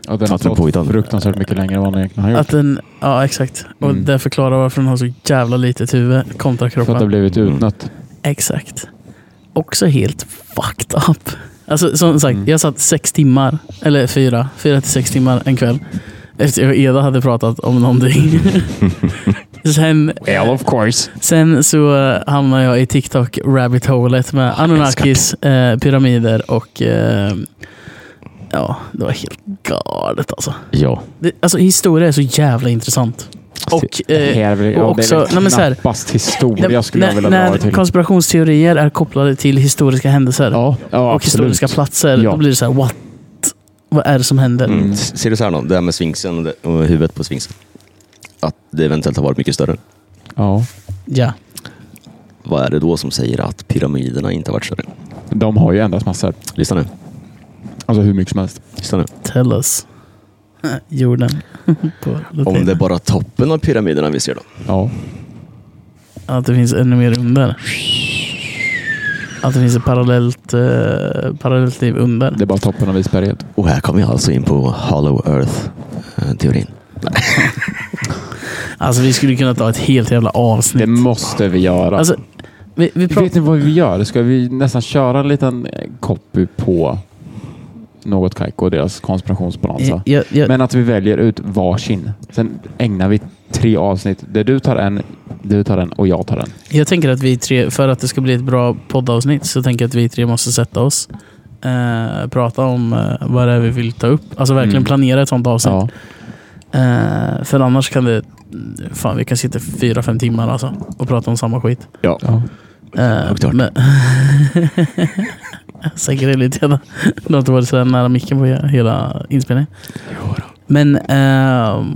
Ja, den har
Att den
tagit
påhittar.
fruktansvärt mycket längre än vad den egentligen har gjort.
Att den, ja, exakt. Och
Mm.
det förklarar varför den har så jävla litet huvud kontra
För
kroppen.
att det har blivit
Mm.
utnött.
Exakt. Också helt fucked up. Alltså som sagt,
Mm.
jag satt sex timmar, eller fyra, fyra till sex timmar en kväll. Efter jag och Eda hade pratat om någonting. sen,
Well, of course.
sen så eh, hamnade jag i TikTok rabbit holet
Ah,
med Anunnakis, eh, pyramider och eh, ja, det var helt galet alltså.
Ja.
Det, alltså historia är så jävla intressant. Och
Alltså, Det
eh,
här vill,
och
ja, det
också-
är väl
nej, men så här-
knappast historia skulle jag
när,
vilja dra det
när
till.
konspirationsteorier är kopplade till historiska händelser
Ja, ja,
och historiska platser,
Ja.
då blir det så här, what? Vad är det som händer?
Mm. S- Ser du så här då? Det här med sfinxen och det- och huvudet på sfinxen. Att det eventuellt har varit mycket större.
Ja,
Ja.
Vad är det då som säger att pyramiderna inte har varit större?
de har ju ändrats massor.
Lyssna nu.
Alltså hur mycket som helst.
Lyssna nu.
Tell us. Eh, Jorden. På
Om
latin.
det är bara toppen av pyramiderna vi ser då.
Ja.
Att det finns ännu mer under. Att det finns ett parallellt, eh, parallellt liv under.
Det är bara toppen av isberget.
Och här kommer jag alltså in på Hollow eh, Earth-teorin.
Alltså vi skulle kunna ta ett helt jävla avsnitt.
Det måste vi göra.
Alltså, vi, vi pratar...
Vet ni vad vi gör? Ska vi nästan köra en liten eh, copy på något Kaiko och deras konspirationsbalansa?
Jag, jag,
alltså. Men att vi väljer ut varsin. Sen ägnar vi tre avsnitt där du tar en, du tar en och jag tar en.
jag tänker att vi tre, för att det ska bli ett bra poddavsnitt, så tänker jag att vi tre måste sätta oss. Eh, prata om eh, vad det är vi vill ta upp. Alltså verkligen
Mm.
planera ett sånt avsnitt.
Ja.
Eh, för annars kan det... Fan, vi kan sitta fyra, fem timmar alltså, och prata om samma skit.
Ja.
Eh,
Och klart.
men... Säkert är lite jävla... Det har inte varit så här nära micken på he- hela inspelningen. Men ehm,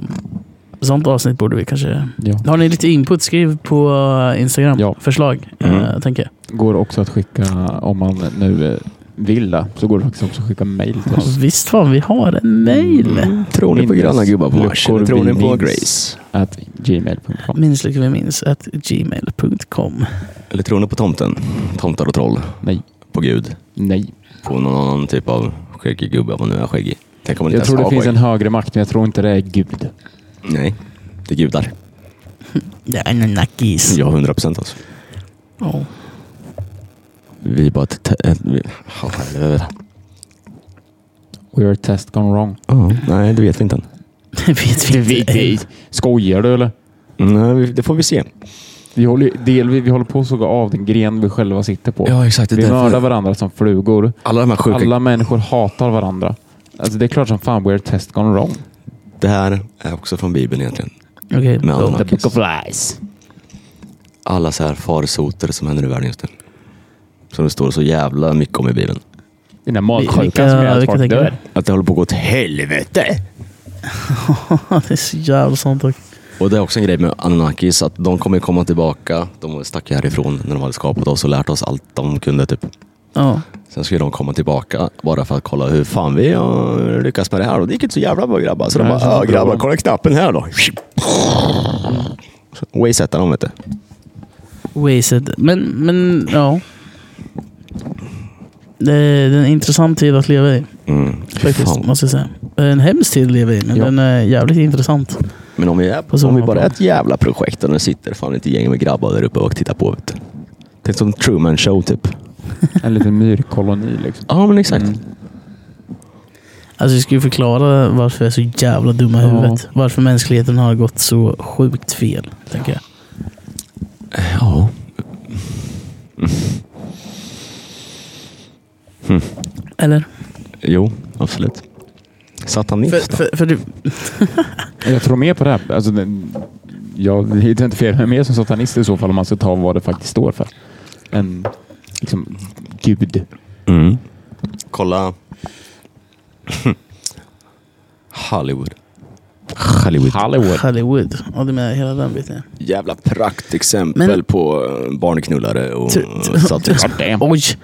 sånt avsnitt borde vi kanske...
Ja.
Har ni lite input? Skriv på eh, Instagram.
Ja.
Förslag,
Mm.
eh, tänker jag.
Går också att skicka, om man nu eh, vill det, så går det faktiskt också att skicka mail till oss.
Visst fan, vi har en mail.
Tror ni på
Minnes
gröna gubbar på Mars?
luckor
Eller tror
vi
ni på
minns.
Grace?
At gmail.com.
Minns lika vi minns, at gmail.com.
Eller tror ni på tomten? Tomtar och troll?
Nej.
På Gud?
Nej.
På någon annan typ av skäggig gubbe, vad nu är skäggig? Tänk om man inte
Jag tror
ens
det
har
finns en
skägg.
högre makt, men jag tror inte det är Gud.
Nej, det är gudar.
Det är en nackis.
Ja, hundra procent alltså.
Ja.
Vi är bara ett... te- ett- vi- Ja, helvete.
We're test gone wrong.
Ja, Nej, det vet vi inte än.
Det vet vi inte. än.
Skojar du eller?
Nej, vi- det får vi se.
Vi håller, ju- del, vi, vi håller på att såga av den gren vi själva sitter på.
exakt.
vi mördar varandra som flugor.
Alla de här sjuka...
Alla människor hatar varandra. Alltså det är klart som fan we're test gone wrong.
Det här är också från Bibeln egentligen.
Okej,
Med
då.
Anna.
book of lies.
Alla så här farsoter som händer i världen just nu. Som det står så jävla mycket om i Bibeln.
Den
Vilka-
där magsjukan som gör att
vilka
folk
tänker
dör.
Att det håller på att gå åt helvete.
det är så jävla sant dock.
Och det är också en grej med Anunnakis, att de kommer komma tillbaka. De stack ju härifrån när de hade skapat oss och lärt oss allt de kunde. Typ.
Ja.
Sen skulle de komma tillbaka bara för att kolla hur fan vi har lyckats med det här. Och det gick inte så jävla bra grabbar. Så de
Nej,
bara,
det känns
"Ja,
bra.
grabbar, kolla knappen här då. Waysetar dem vet du.
Wasted. Men, men ja. Det är, det är en intressant tid att leva i.
Mm.
Faktiskt,
Fan.
måste jag säga. Det är En hemsk tid att leva i, men
Ja.
den är jävligt intressant.
Men om vi, är,
så
om vi
många
bara är
plan.
ett jävla projekt och nu sitter fan ett gäng med grabbar där uppe och tittar på. Vet du. Tänk som Truman show typ.
En liten myrkoloni liksom.
Ja men exakt.
Mm.
Alltså, jag ska ju förklara varför vi är så jävla dumma i
Ja.
huvudet. Varför mänskligheten har gått så sjukt fel, tänker jag.
Ja.
Eller?
Jo, absolut. Satt han
För,
nyss då?
för, för du,
Jag tror mer på det här. Alltså, den- jag identifierar mig mer som satanist i så fall om man ska ta vad det faktiskt står för. En liksom, gud.
Mm. Kolla. Hollywood. Hollywood.
Hollywood.
Hollywood. Ja, du menar hela den biten.
Jävla praktexempel
Men-
på eh, barnknullare och
Tr- tr-
satirist.
Damn.
Oj!
Ska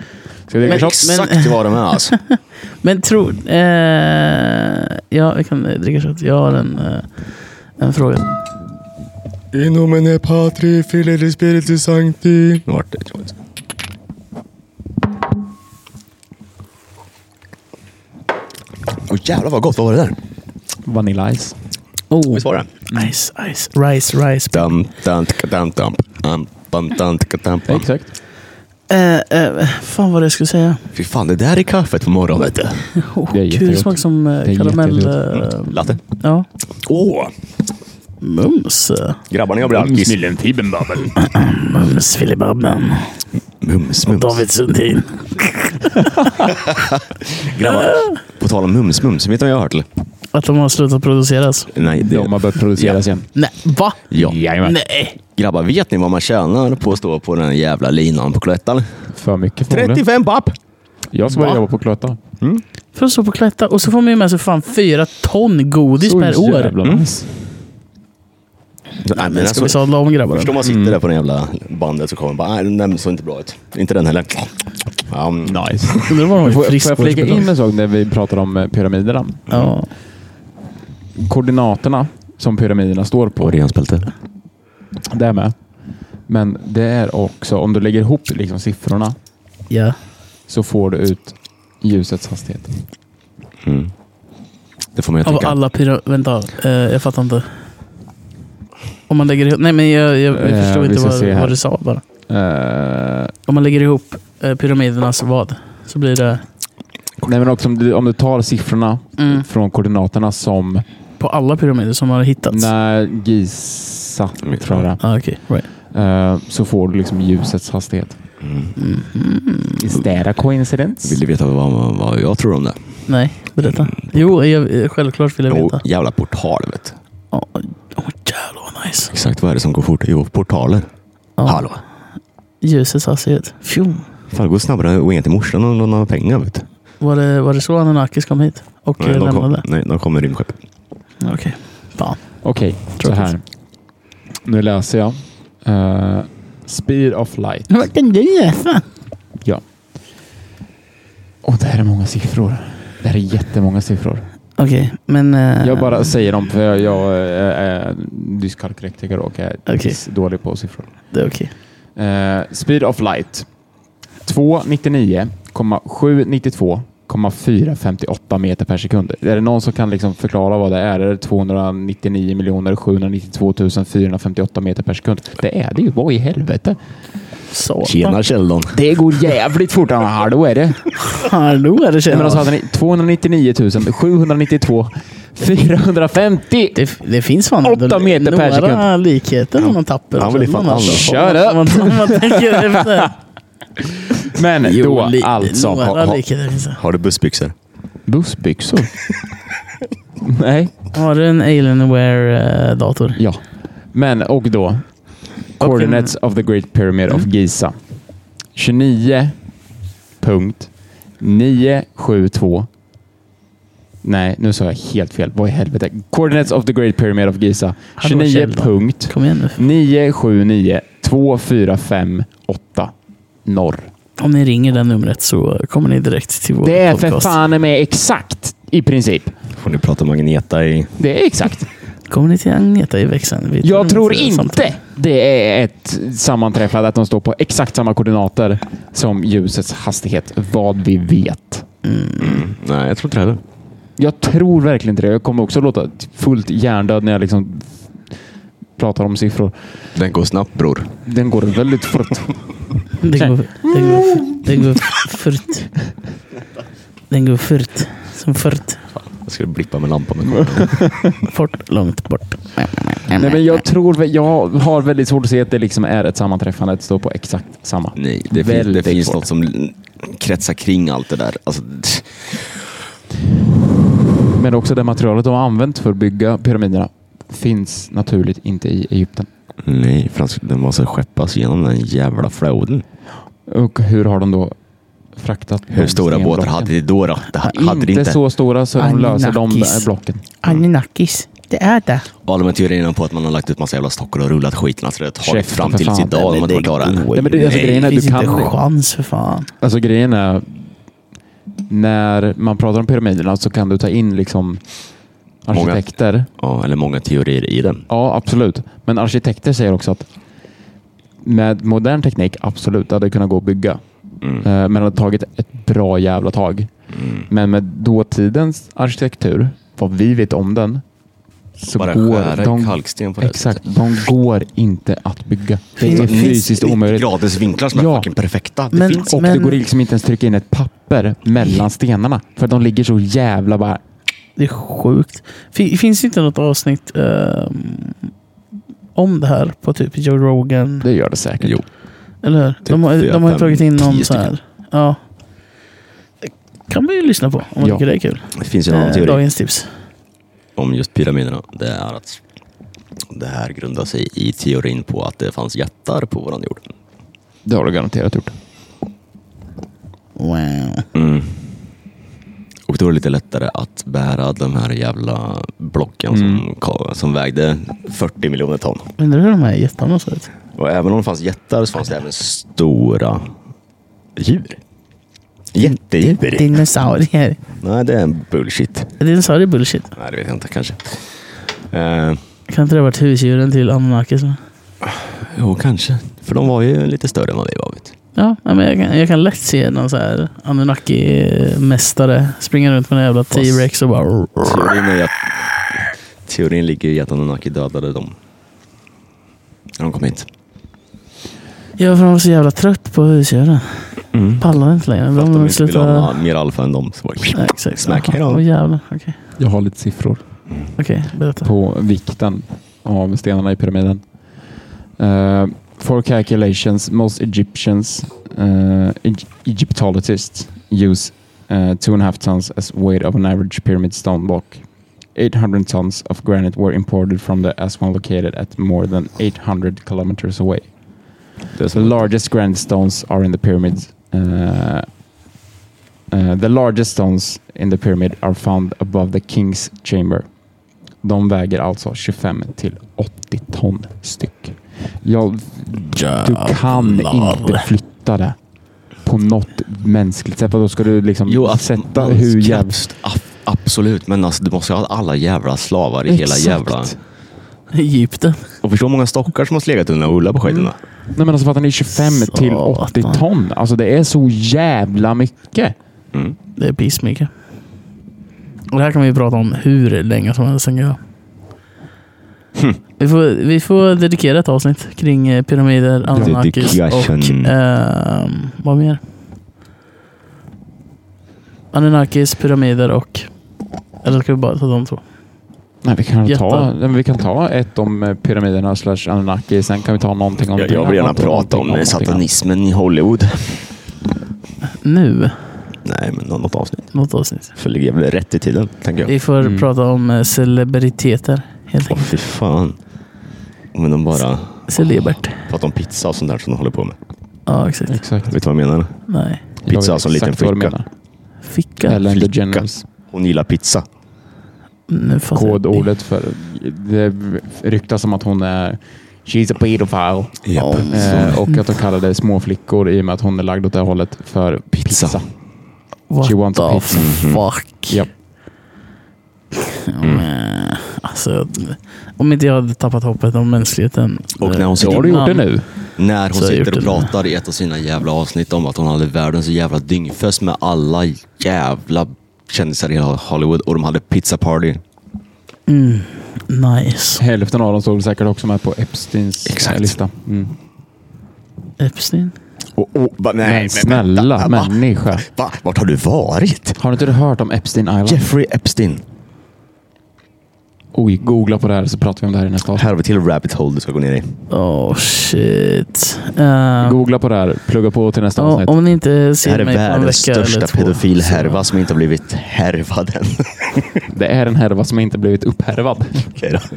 vi
Men-
dricka shot?
Exakt vad de är alltså.
Men tror... Eh, ja, vi kan eh, dricka shot. Jag har en, eh, en fråga.
In nomine Patri, Filii, Spiritus Sancti.
Nu vart det tråkigt. Åh jävlar vad gott, vad var det där?
Vanilla Ice.
Oh,
Visst var det?
nice, nice. Rice, rice.
Dum, dum, tka, dum, dum. Um, bum, dum, tka, dum, bum.
Exakt.
Eh, eh, fan vad det skulle säga.
Fy fan, det där är kaffet på morgonen vet du.
Oh,
Det är
kul
jättegott.
smak som
Det
eh,
är
karamell...
jättegott.
Eh,
Latte.
ja.
Åh!
Mums. eh,
Grabbarna, jag blir alkis.
Millentibbenbabbel.
Mums filibabben.
Mums, mums.
David Sundin.
Grabbar, på tal om mums, mums. Vet du vad jag har hört? eller?
Att de har slutat alltså. produceras.
Nej, det...
De har börjat produceras igen.
Nej, va?
Ja.
Jajamän.
Nej.
Grabbar, vet ni vad man tjänar på att stå på den här jävla linan på Cloettan?
För mycket förmodligen.
35 papp!
Jag ska börja
Va?
jobba på Cloetta.
För att stå på klätta. Och så får man ju med sig fan fyra ton godis
Så
per år.
jävla
Mm.
nice.
Nej,
Men
men
ska
alltså,
vi sadla om grabbarna?
förstår man sitter där på den jävla bandet så kommer man bara, nej den där såg inte bra ut. Inte den heller. Ja, mm.
Nice.
Undrar vad de har i
Får, får jag
friskvårdsbedömning.
flika in en sak när vi pratar om eh, pyramiderna?
Ja.
Koordinaterna som pyramiderna står på,
Orionsbälte.
det är med. Men det är också, om du lägger ihop liksom siffrorna
ja.
så får du ut ljusets hastighet.
Mm. Det får man ju
Av
tänka.
alla pyra... Vänta, eh, jag fattar inte. Om man lägger ihop... Nej, men jag, jag, jag
Eh,
förstod
vi
inte
ska se
vad,
här.
vad du sa bara.
Eh,
Om man lägger ihop eh, pyramidernas vad? Så blir det
nej men också om du, om du tar siffrorna
Mm.
från koordinaterna som
på alla pyramider som har hittats?
när Giza,
Mm.
tror jag det
Ah, Okej, right.
är, eh, så får du liksom ljusets hastighet. Is that a coincidence?
Vill du Mm. veta vad, vad jag tror om det?
Nej, berätta.
Mm.
Jo, jag, eh, självklart vill jag
Jo,
veta.
jävla portal vet du.
Åh, oh, jävlar vad nice.
Exakt vad är det som går fort? Jo, portaler.
Ja.
Hallå.
Ljusets hastighet. Fjum.
Fan, det går snabbare att ringa till morsan om någon har pengar vet du.
Var det, var det så Anunnakis kom hit? Och eh,
Nej, de kom,
lämnade?
nej, de kommer i rymdskepp.
Okej. Fan.
Okej, så här. Nu läser jag. Eh, speed of light.
Vad kan du läsa?
Ja. Och det här är många siffror. Det här är jättemånga siffror.
Okej, men... eh,
Jag bara säger dem för jag, jag eh, är, är dyskalkylektiker och är
Okej.
dålig på siffror.
Det är okej.
Eh, speed of light. 299,792,458 meter per sekund. Är det någon som kan liksom förklara vad det är? Är det 299 792 458 meter per sekund? Det är det ju. Vad i helvete?
Satan.
Tjena Sheldon.
Det går jävligt fort. Ja, Hallå är det?
Hallå är det
Nej,
tjena.
Men alltså hade ni 299 792 450.
det, f- det finns fan
Åtta
ändå
meter per
några
sekund.
likheter om man tappar.
han vill ju fan
Man har-
alla.
Shut up.
om man- om man tänker efter.
Men då
li-
alltså.
Några
ha- ha-
likheter finns det.
Har du bussbyxor?
Bussbyxor? Nej.
Har du en Alienware-dator?
Ja. Men och då. Coordinates of the Great Pyramid
Mm.
of Giza. 29.972. Nej, nu sa jag helt fel. Vad i helvete? Coordinates of the Great Pyramid of Giza.
Hallå, Kjell då.
29.
Kom igen nu.
979 2458 norr.
Om ni ringer det numret så kommer ni direkt till vår
Det är för
podcast.
fan med exakt i princip.
Får ni prata magneta i...
Det är exakt.
Kommer ni till Agneta i växeln? Vi
Jag tror
för det
inte
samtidigt.
det är ett sammanträffande att de står på exakt samma koordinater som ljusets hastighet, vad vi vet.
Nej, jag tror inte det heller.
Jag tror verkligen inte det. Jag kommer också låta fullt hjärndöd när jag liksom pratar om siffror.
Den går snabbt bror.
Den går väldigt fort.
Den går, den går, den går furt. Den går furt. Som furt.
Jag skulle blippa med lampan. men-
Fort, långt bort.
Nej, men jag, tror, jag har väldigt svårt att se att det liksom är ett sammanträffande att stå på exakt samma.
Nej, det finns, det
Väldigt
finns
svårt.
något som kretsar kring allt det där. Alltså,
Men också det materialet de har använt för att bygga pyramiderna finns naturligt inte i Egypten.
nej, för att den måste skeppas genom den jävla floden.
Och hur har de då fraktat
Hur
de
stora båtar
stenblocken?
hade de då? då? Det ha- hade de
inte
inte.
så stora så de löser de
Anunnakis.
blocken.
Anunnakis. Det är det.
Och alla de här teorierna på att man har lagt ut massa jävla stockar och rullat skiten. Alltså det tar
Käften,
fram
för
tills
fan.
idag om man inte var klara.
Nej, men det, alltså, grejen
Det
är,
finns
du
inte
kan,
chans för fan.
alltså grejen är, när man pratar om pyramiderna så kan du ta in liksom
Många.
arkitekter.
Ja, eller många teorier i den.
Ja, absolut. Men arkitekter säger också att med modern teknik, absolut, det hade kunnat gå att bygga.
Mm.
Eh, Men det hade tagit ett bra jävla tag.
Mm.
Men med dåtidens arkitektur, vad vi vet om den, så
Bara
går
skära i
de,
kalksten på det här
exakt,
sättet.
de går inte att bygga. Det är
Det finns
fysiskt
90
omöjligt.
graders vinklar som är
Ja.
fucking perfekta. Det
Men-
finns.
Och det
Men-
går liksom inte ens trycka in ett papper mellan stenarna. För de ligger så jävla bara...
Det är sjukt. Fin- Finns det inte något avsnitt ehm, om det här på typ Joe Rogan?
Det typ gör det säkert.
Jo.
Eller hur? de har,
fyra,
de har ju
fem,
tagit in någon
tio
så här. Ja. Det kan man ju lyssna på om man
Ja.
tycker det är kul.
Det finns ju en annan
Eh,
teori.
Dagens tips.
om just pyramiderna, det är att det här grundar sig i teorin på att det fanns jättar på våran jord.
Det har du garanterat gjort.
Wow.
Mm. Och då är det lite lättare att bära de här jävla blocken som, ka- som vägde 40 miljoner ton.
Undrar hur de här jättarna såg ut.
Och även om det fanns jättar så fanns det även stora djur. Jättedjur.
Dinosaurier.
Nej, det är en bullshit.
Dinosaurier är bullshit.
Nej, det vet jag inte kanske. Eh,
Kan inte det ha varit husdjuren till Anunnakis? va?
jo, kanske. För de var ju lite större än vad vi var. Vet. du.
Ja, ja, men jag kan, jag kan lätt se någon så här Anunnaki-mästare springa runt med en jävla T-Rex och bara...
Teorin, är ju att, teorin ligger i att Anunnaki dödade dem. När de kom hit.
Ja, för de var så jävla trött på husdjuren.
Mm.
Pallade inte längre.
För att
De,
de inte ville
slutade...
ha mer alfa än dem. Så var det-
Nej, exakt.
Smack.
Jaha.
Hej då.
Åh jävlar. Okej,
Jag har lite siffror.
Okej, berätta.
på vikten av stenarna i pyramiden. Eh, for calculations, most Egyptians, eh, Egy- Egyptologists use eh, two and a half tons as weight of an average pyramid stone block. 800 tons of granite were imported from the Aswan located at more than 800 kilometers away. The largest granite stones are in the pyramids. Uh, uh, the largest stones in the pyramid are found above the King's chamber. De väger alltså 25 till 80 ton styck. Ja, du kan inte flytta det på något mänskligt sätt. För Då ska du liksom
Jo, att
sätta
man-
hur
knappt-
jävla...
ab- Absolut, men alltså, du måste ju ha alla jävla slavar i hela jävla...
Egypten.
Och förstå hur många stockar som måste legat under och rullat på skiten. då.
Nej men alltså fattar ni? 25 till 80
Satan.
ton. Alltså det är så jävla mycket.
Mm.
Det är pissmycket. Och det här kan vi prata om hur länge som helst. tänker jag.
Hm.
Vi får, vi får dedikera ett avsnitt kring eh, pyramider, Anunnakis och...
Dedication.
ehm, vad mer? Anunnakis, pyramider och... Eller ska vi bara ta de två?
Nej, vi, kan ta,
Jättar.
nej, men vi kan ta ett om eh, pyramiderna slash Anunnaki. Sen kan vi ta någonting om
Jag, jag vill gärna prata om eh, satanismen i Hollywood.
Nu?
Nej, men något avsnitt.
Något avsnitt.
För det ligger väl rätt i tiden, tänker jag.
Vi får
Mm.
prata om eh, celebriteter. Helt
Åh,
enkelt.
fy fan. Men de bara
Oh.
Celebert.
pratar om pizza och sånt där som de håller på med.
Ja, exakt.
Exakt.
Vet du vad jag menar?
Nej.
Pizza som liten flicka.
Ficka.
Ellen
Flicka.
DeGeneres.
Hon gillar pizza.
nu fattar jag.
Kodordet för... Det ryktas om att hon är... She's a pedophile.
Ja.
Eh, och att de kallade småflickor i och med att hon är lagd åt det hållet för pizza.
Pizza.
What
She wants
the
a pizza.
fuck?
Japp.
Mm. Alltså, om inte jag hade tappat hoppet om mänskligheten.
Och när hon
eh,
sitter-
Då har du gjort det
innan-
nu.
När hon
Så jag har gjort
sitter och
det med.
pratar i ett av sina jävla avsnitt om att hon hade världens jävla dyngfest med alla jävla kändisar i hela Hollywood och de hade pizza party.
Mm. Nice.
Hälften av dem står säkert också med på Epsteins
Exakt.
lista. Mm.
Epstein?
Och, och, va, nej,
Men snälla
va, va,
människa.
va, vart har du varit?
Har inte du hört om Epstein Island?
Jeffrey Epstein.
Oj, googla på det här så pratar vi om det här i nästa avsnitt.
Här har vi till rabbit hole du ska gå ner i.
Oh shit. Eh,
Googla på det här, plugga på till nästa
ja,
avsnitt.
om ni inte
Det här
ser
är
mig på en
världens
vecka eller
största
två.
pedofilhärva som inte har blivit härvad än.
Det är en härva som inte blivit upphärvad.
Okej då.
så-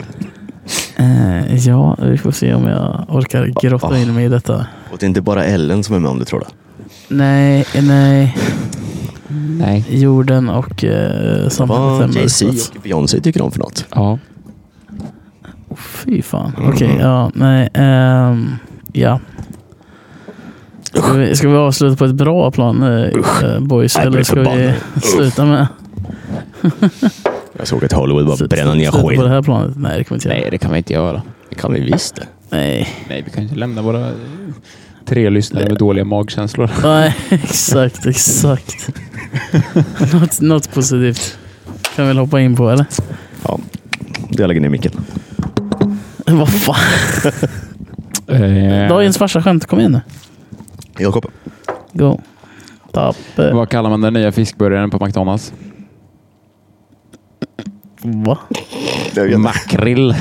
eh, ja, vi får se om jag orkar grotta
Ah, ah.
in mig i detta.
och det är inte bara Ellen som är med om du tror det.
Nej, nej.
Nej.
Jorden och eh, samhället
Vad
är med, så
Jay-Z
att-
och Beyoncé tycker om för något.
Ja.
fy fan.
Mm.
Okej, ja. Nej. ehm, ja. Ska vi, ska vi avsluta på ett bra plan eh, eh, boys?
Nej, jag
Eller
blir
ska vi
förbannad.
sluta med
Jag såg att Hollywood bara bränna ner
sluta på det
skiten.
här planet? Nej, det kommer vi inte göra.
Nej, det kan vi inte göra.
Det kan vi visst det.
Nej.
Nej, vi kan inte lämna våra eh, tre lyssnare med dåliga magkänslor.
Nej, exakt, exakt. något, något positivt. Kan vi väl hoppa in på eller?
Ja. Jag lägger ner micken.
Vad fan?
Eh.
Dagens farsa skämt, kom in nu.
Jakob.
Go. Tappe.
Eh, Vad kallar man den nya fiskburgaren på McDonalds?
Va?
Makrill.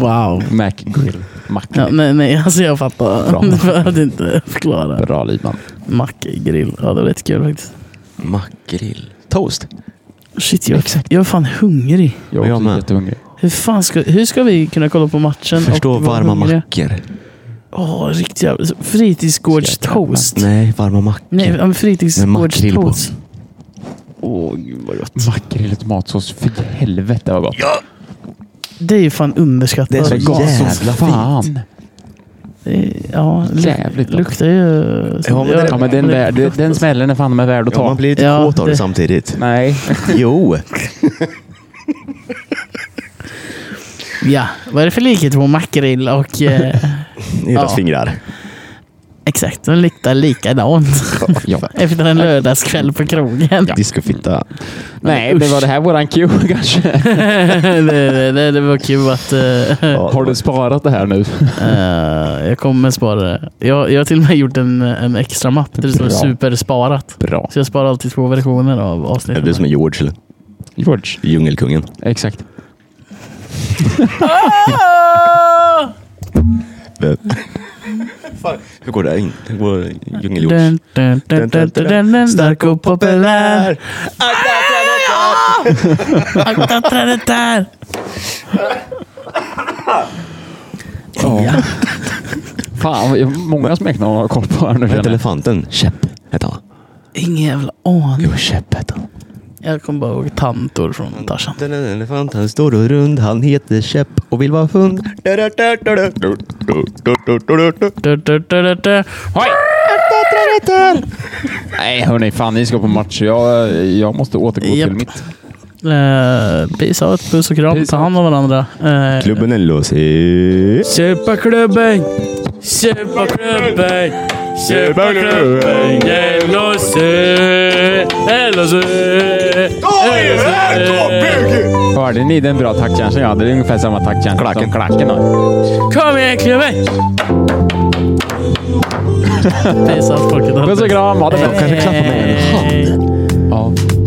Wow.
Macgrill.
Ja,
Makrill.
nej, nej, alltså jag fattar.
Bra.
Du behövde inte förklara.
Bra Liban.
Mackgrill. Ja, det var rätt kul faktiskt.
Makrill. Toast.
Shit, jag, jag är fan hungrig.
Jag är
Jag
också
med.
jättehungrig.
Hur fan ska, hur ska vi kunna kolla på matchen
Förstå
och vara
varma
hungriga?
mackor.
Åh, riktigt jävla... Fritidsgårdstoast.
Nej, varma mackor.
Nej, ja, men
Med makrill på.
fritidsgårdstoast.
Åh, gud vad gött.
Makrill i tomatsås. Fy helvete vad gott.
Det är ju fan underskattat.
Det är så
Det
gott.
är-
jävla
fan.
Ja,
Jävligt
Jävligt
gott.
luktar ju...
Ja, men det-
Ja, men den, vär, den- den smällen är fan med värd att
Ja, man
ta.
blir lite
Ja,
kåt av
det-
det samtidigt.
Nej.
Jo.
Ja, vad är det för likhet på makrill och... Eh,
Deras
Ja.
fingrar.
exakt, de luktar likadant.
Ja.
Efter en lördagskväll på krogen.
Discofitta.
Nej, men var det här våran cue kanske?
det, det, det, det var kul att... eh,
Ja,
Har du sparat det här nu?
eh, jag kommer spara det. Jag, jag har till och med gjort en, en extra mapp där det står
Bra.
supersparat.
Bra.
Så jag sparar alltid två versioner av
Är
avsnittet.
du som är George eller?
George.
Djungelkungen.
Exakt.
Ah! Eh.
Hur går det in? Hur går djungel-George?
Dun, dun, dun, dun, dun, dun, dun. Stark och populär. Akta trädet där!
Ja. Fan, vad- många smeknamn har jag koll på här nu.
Vad hette
känner jag.
elefanten? Käpp hette han.
Ingen jävla aning.
Jo, Käpp hette han.
Jag kommer bara ihåg tantor från Tarzan.
Den är en elefant, han är stor och rund. Han heter Käpp och vill vara hund.
Du, du, du, du, du. Hoj!
Nej, hörni. Fan, ni ska på match. Jag, jag måste återgå
Japp.
till mitt.
Eh, Peace out, puss och kram.
Peace
Ta hand om varandra. Eh,
Klubben är låsig.
Köpaklubben! Köpaklubben! Köpaklubben! Gällåsö! Gällåsö!
Hörde ni den bra taktkänslan jag hade? Det är ungefär samma taktkänsla som
Klacken.
klacken har.
Kom igen klubben! Peace out folket. Eh.
Puss och kram. Ha det bra.
Hej.
Ja.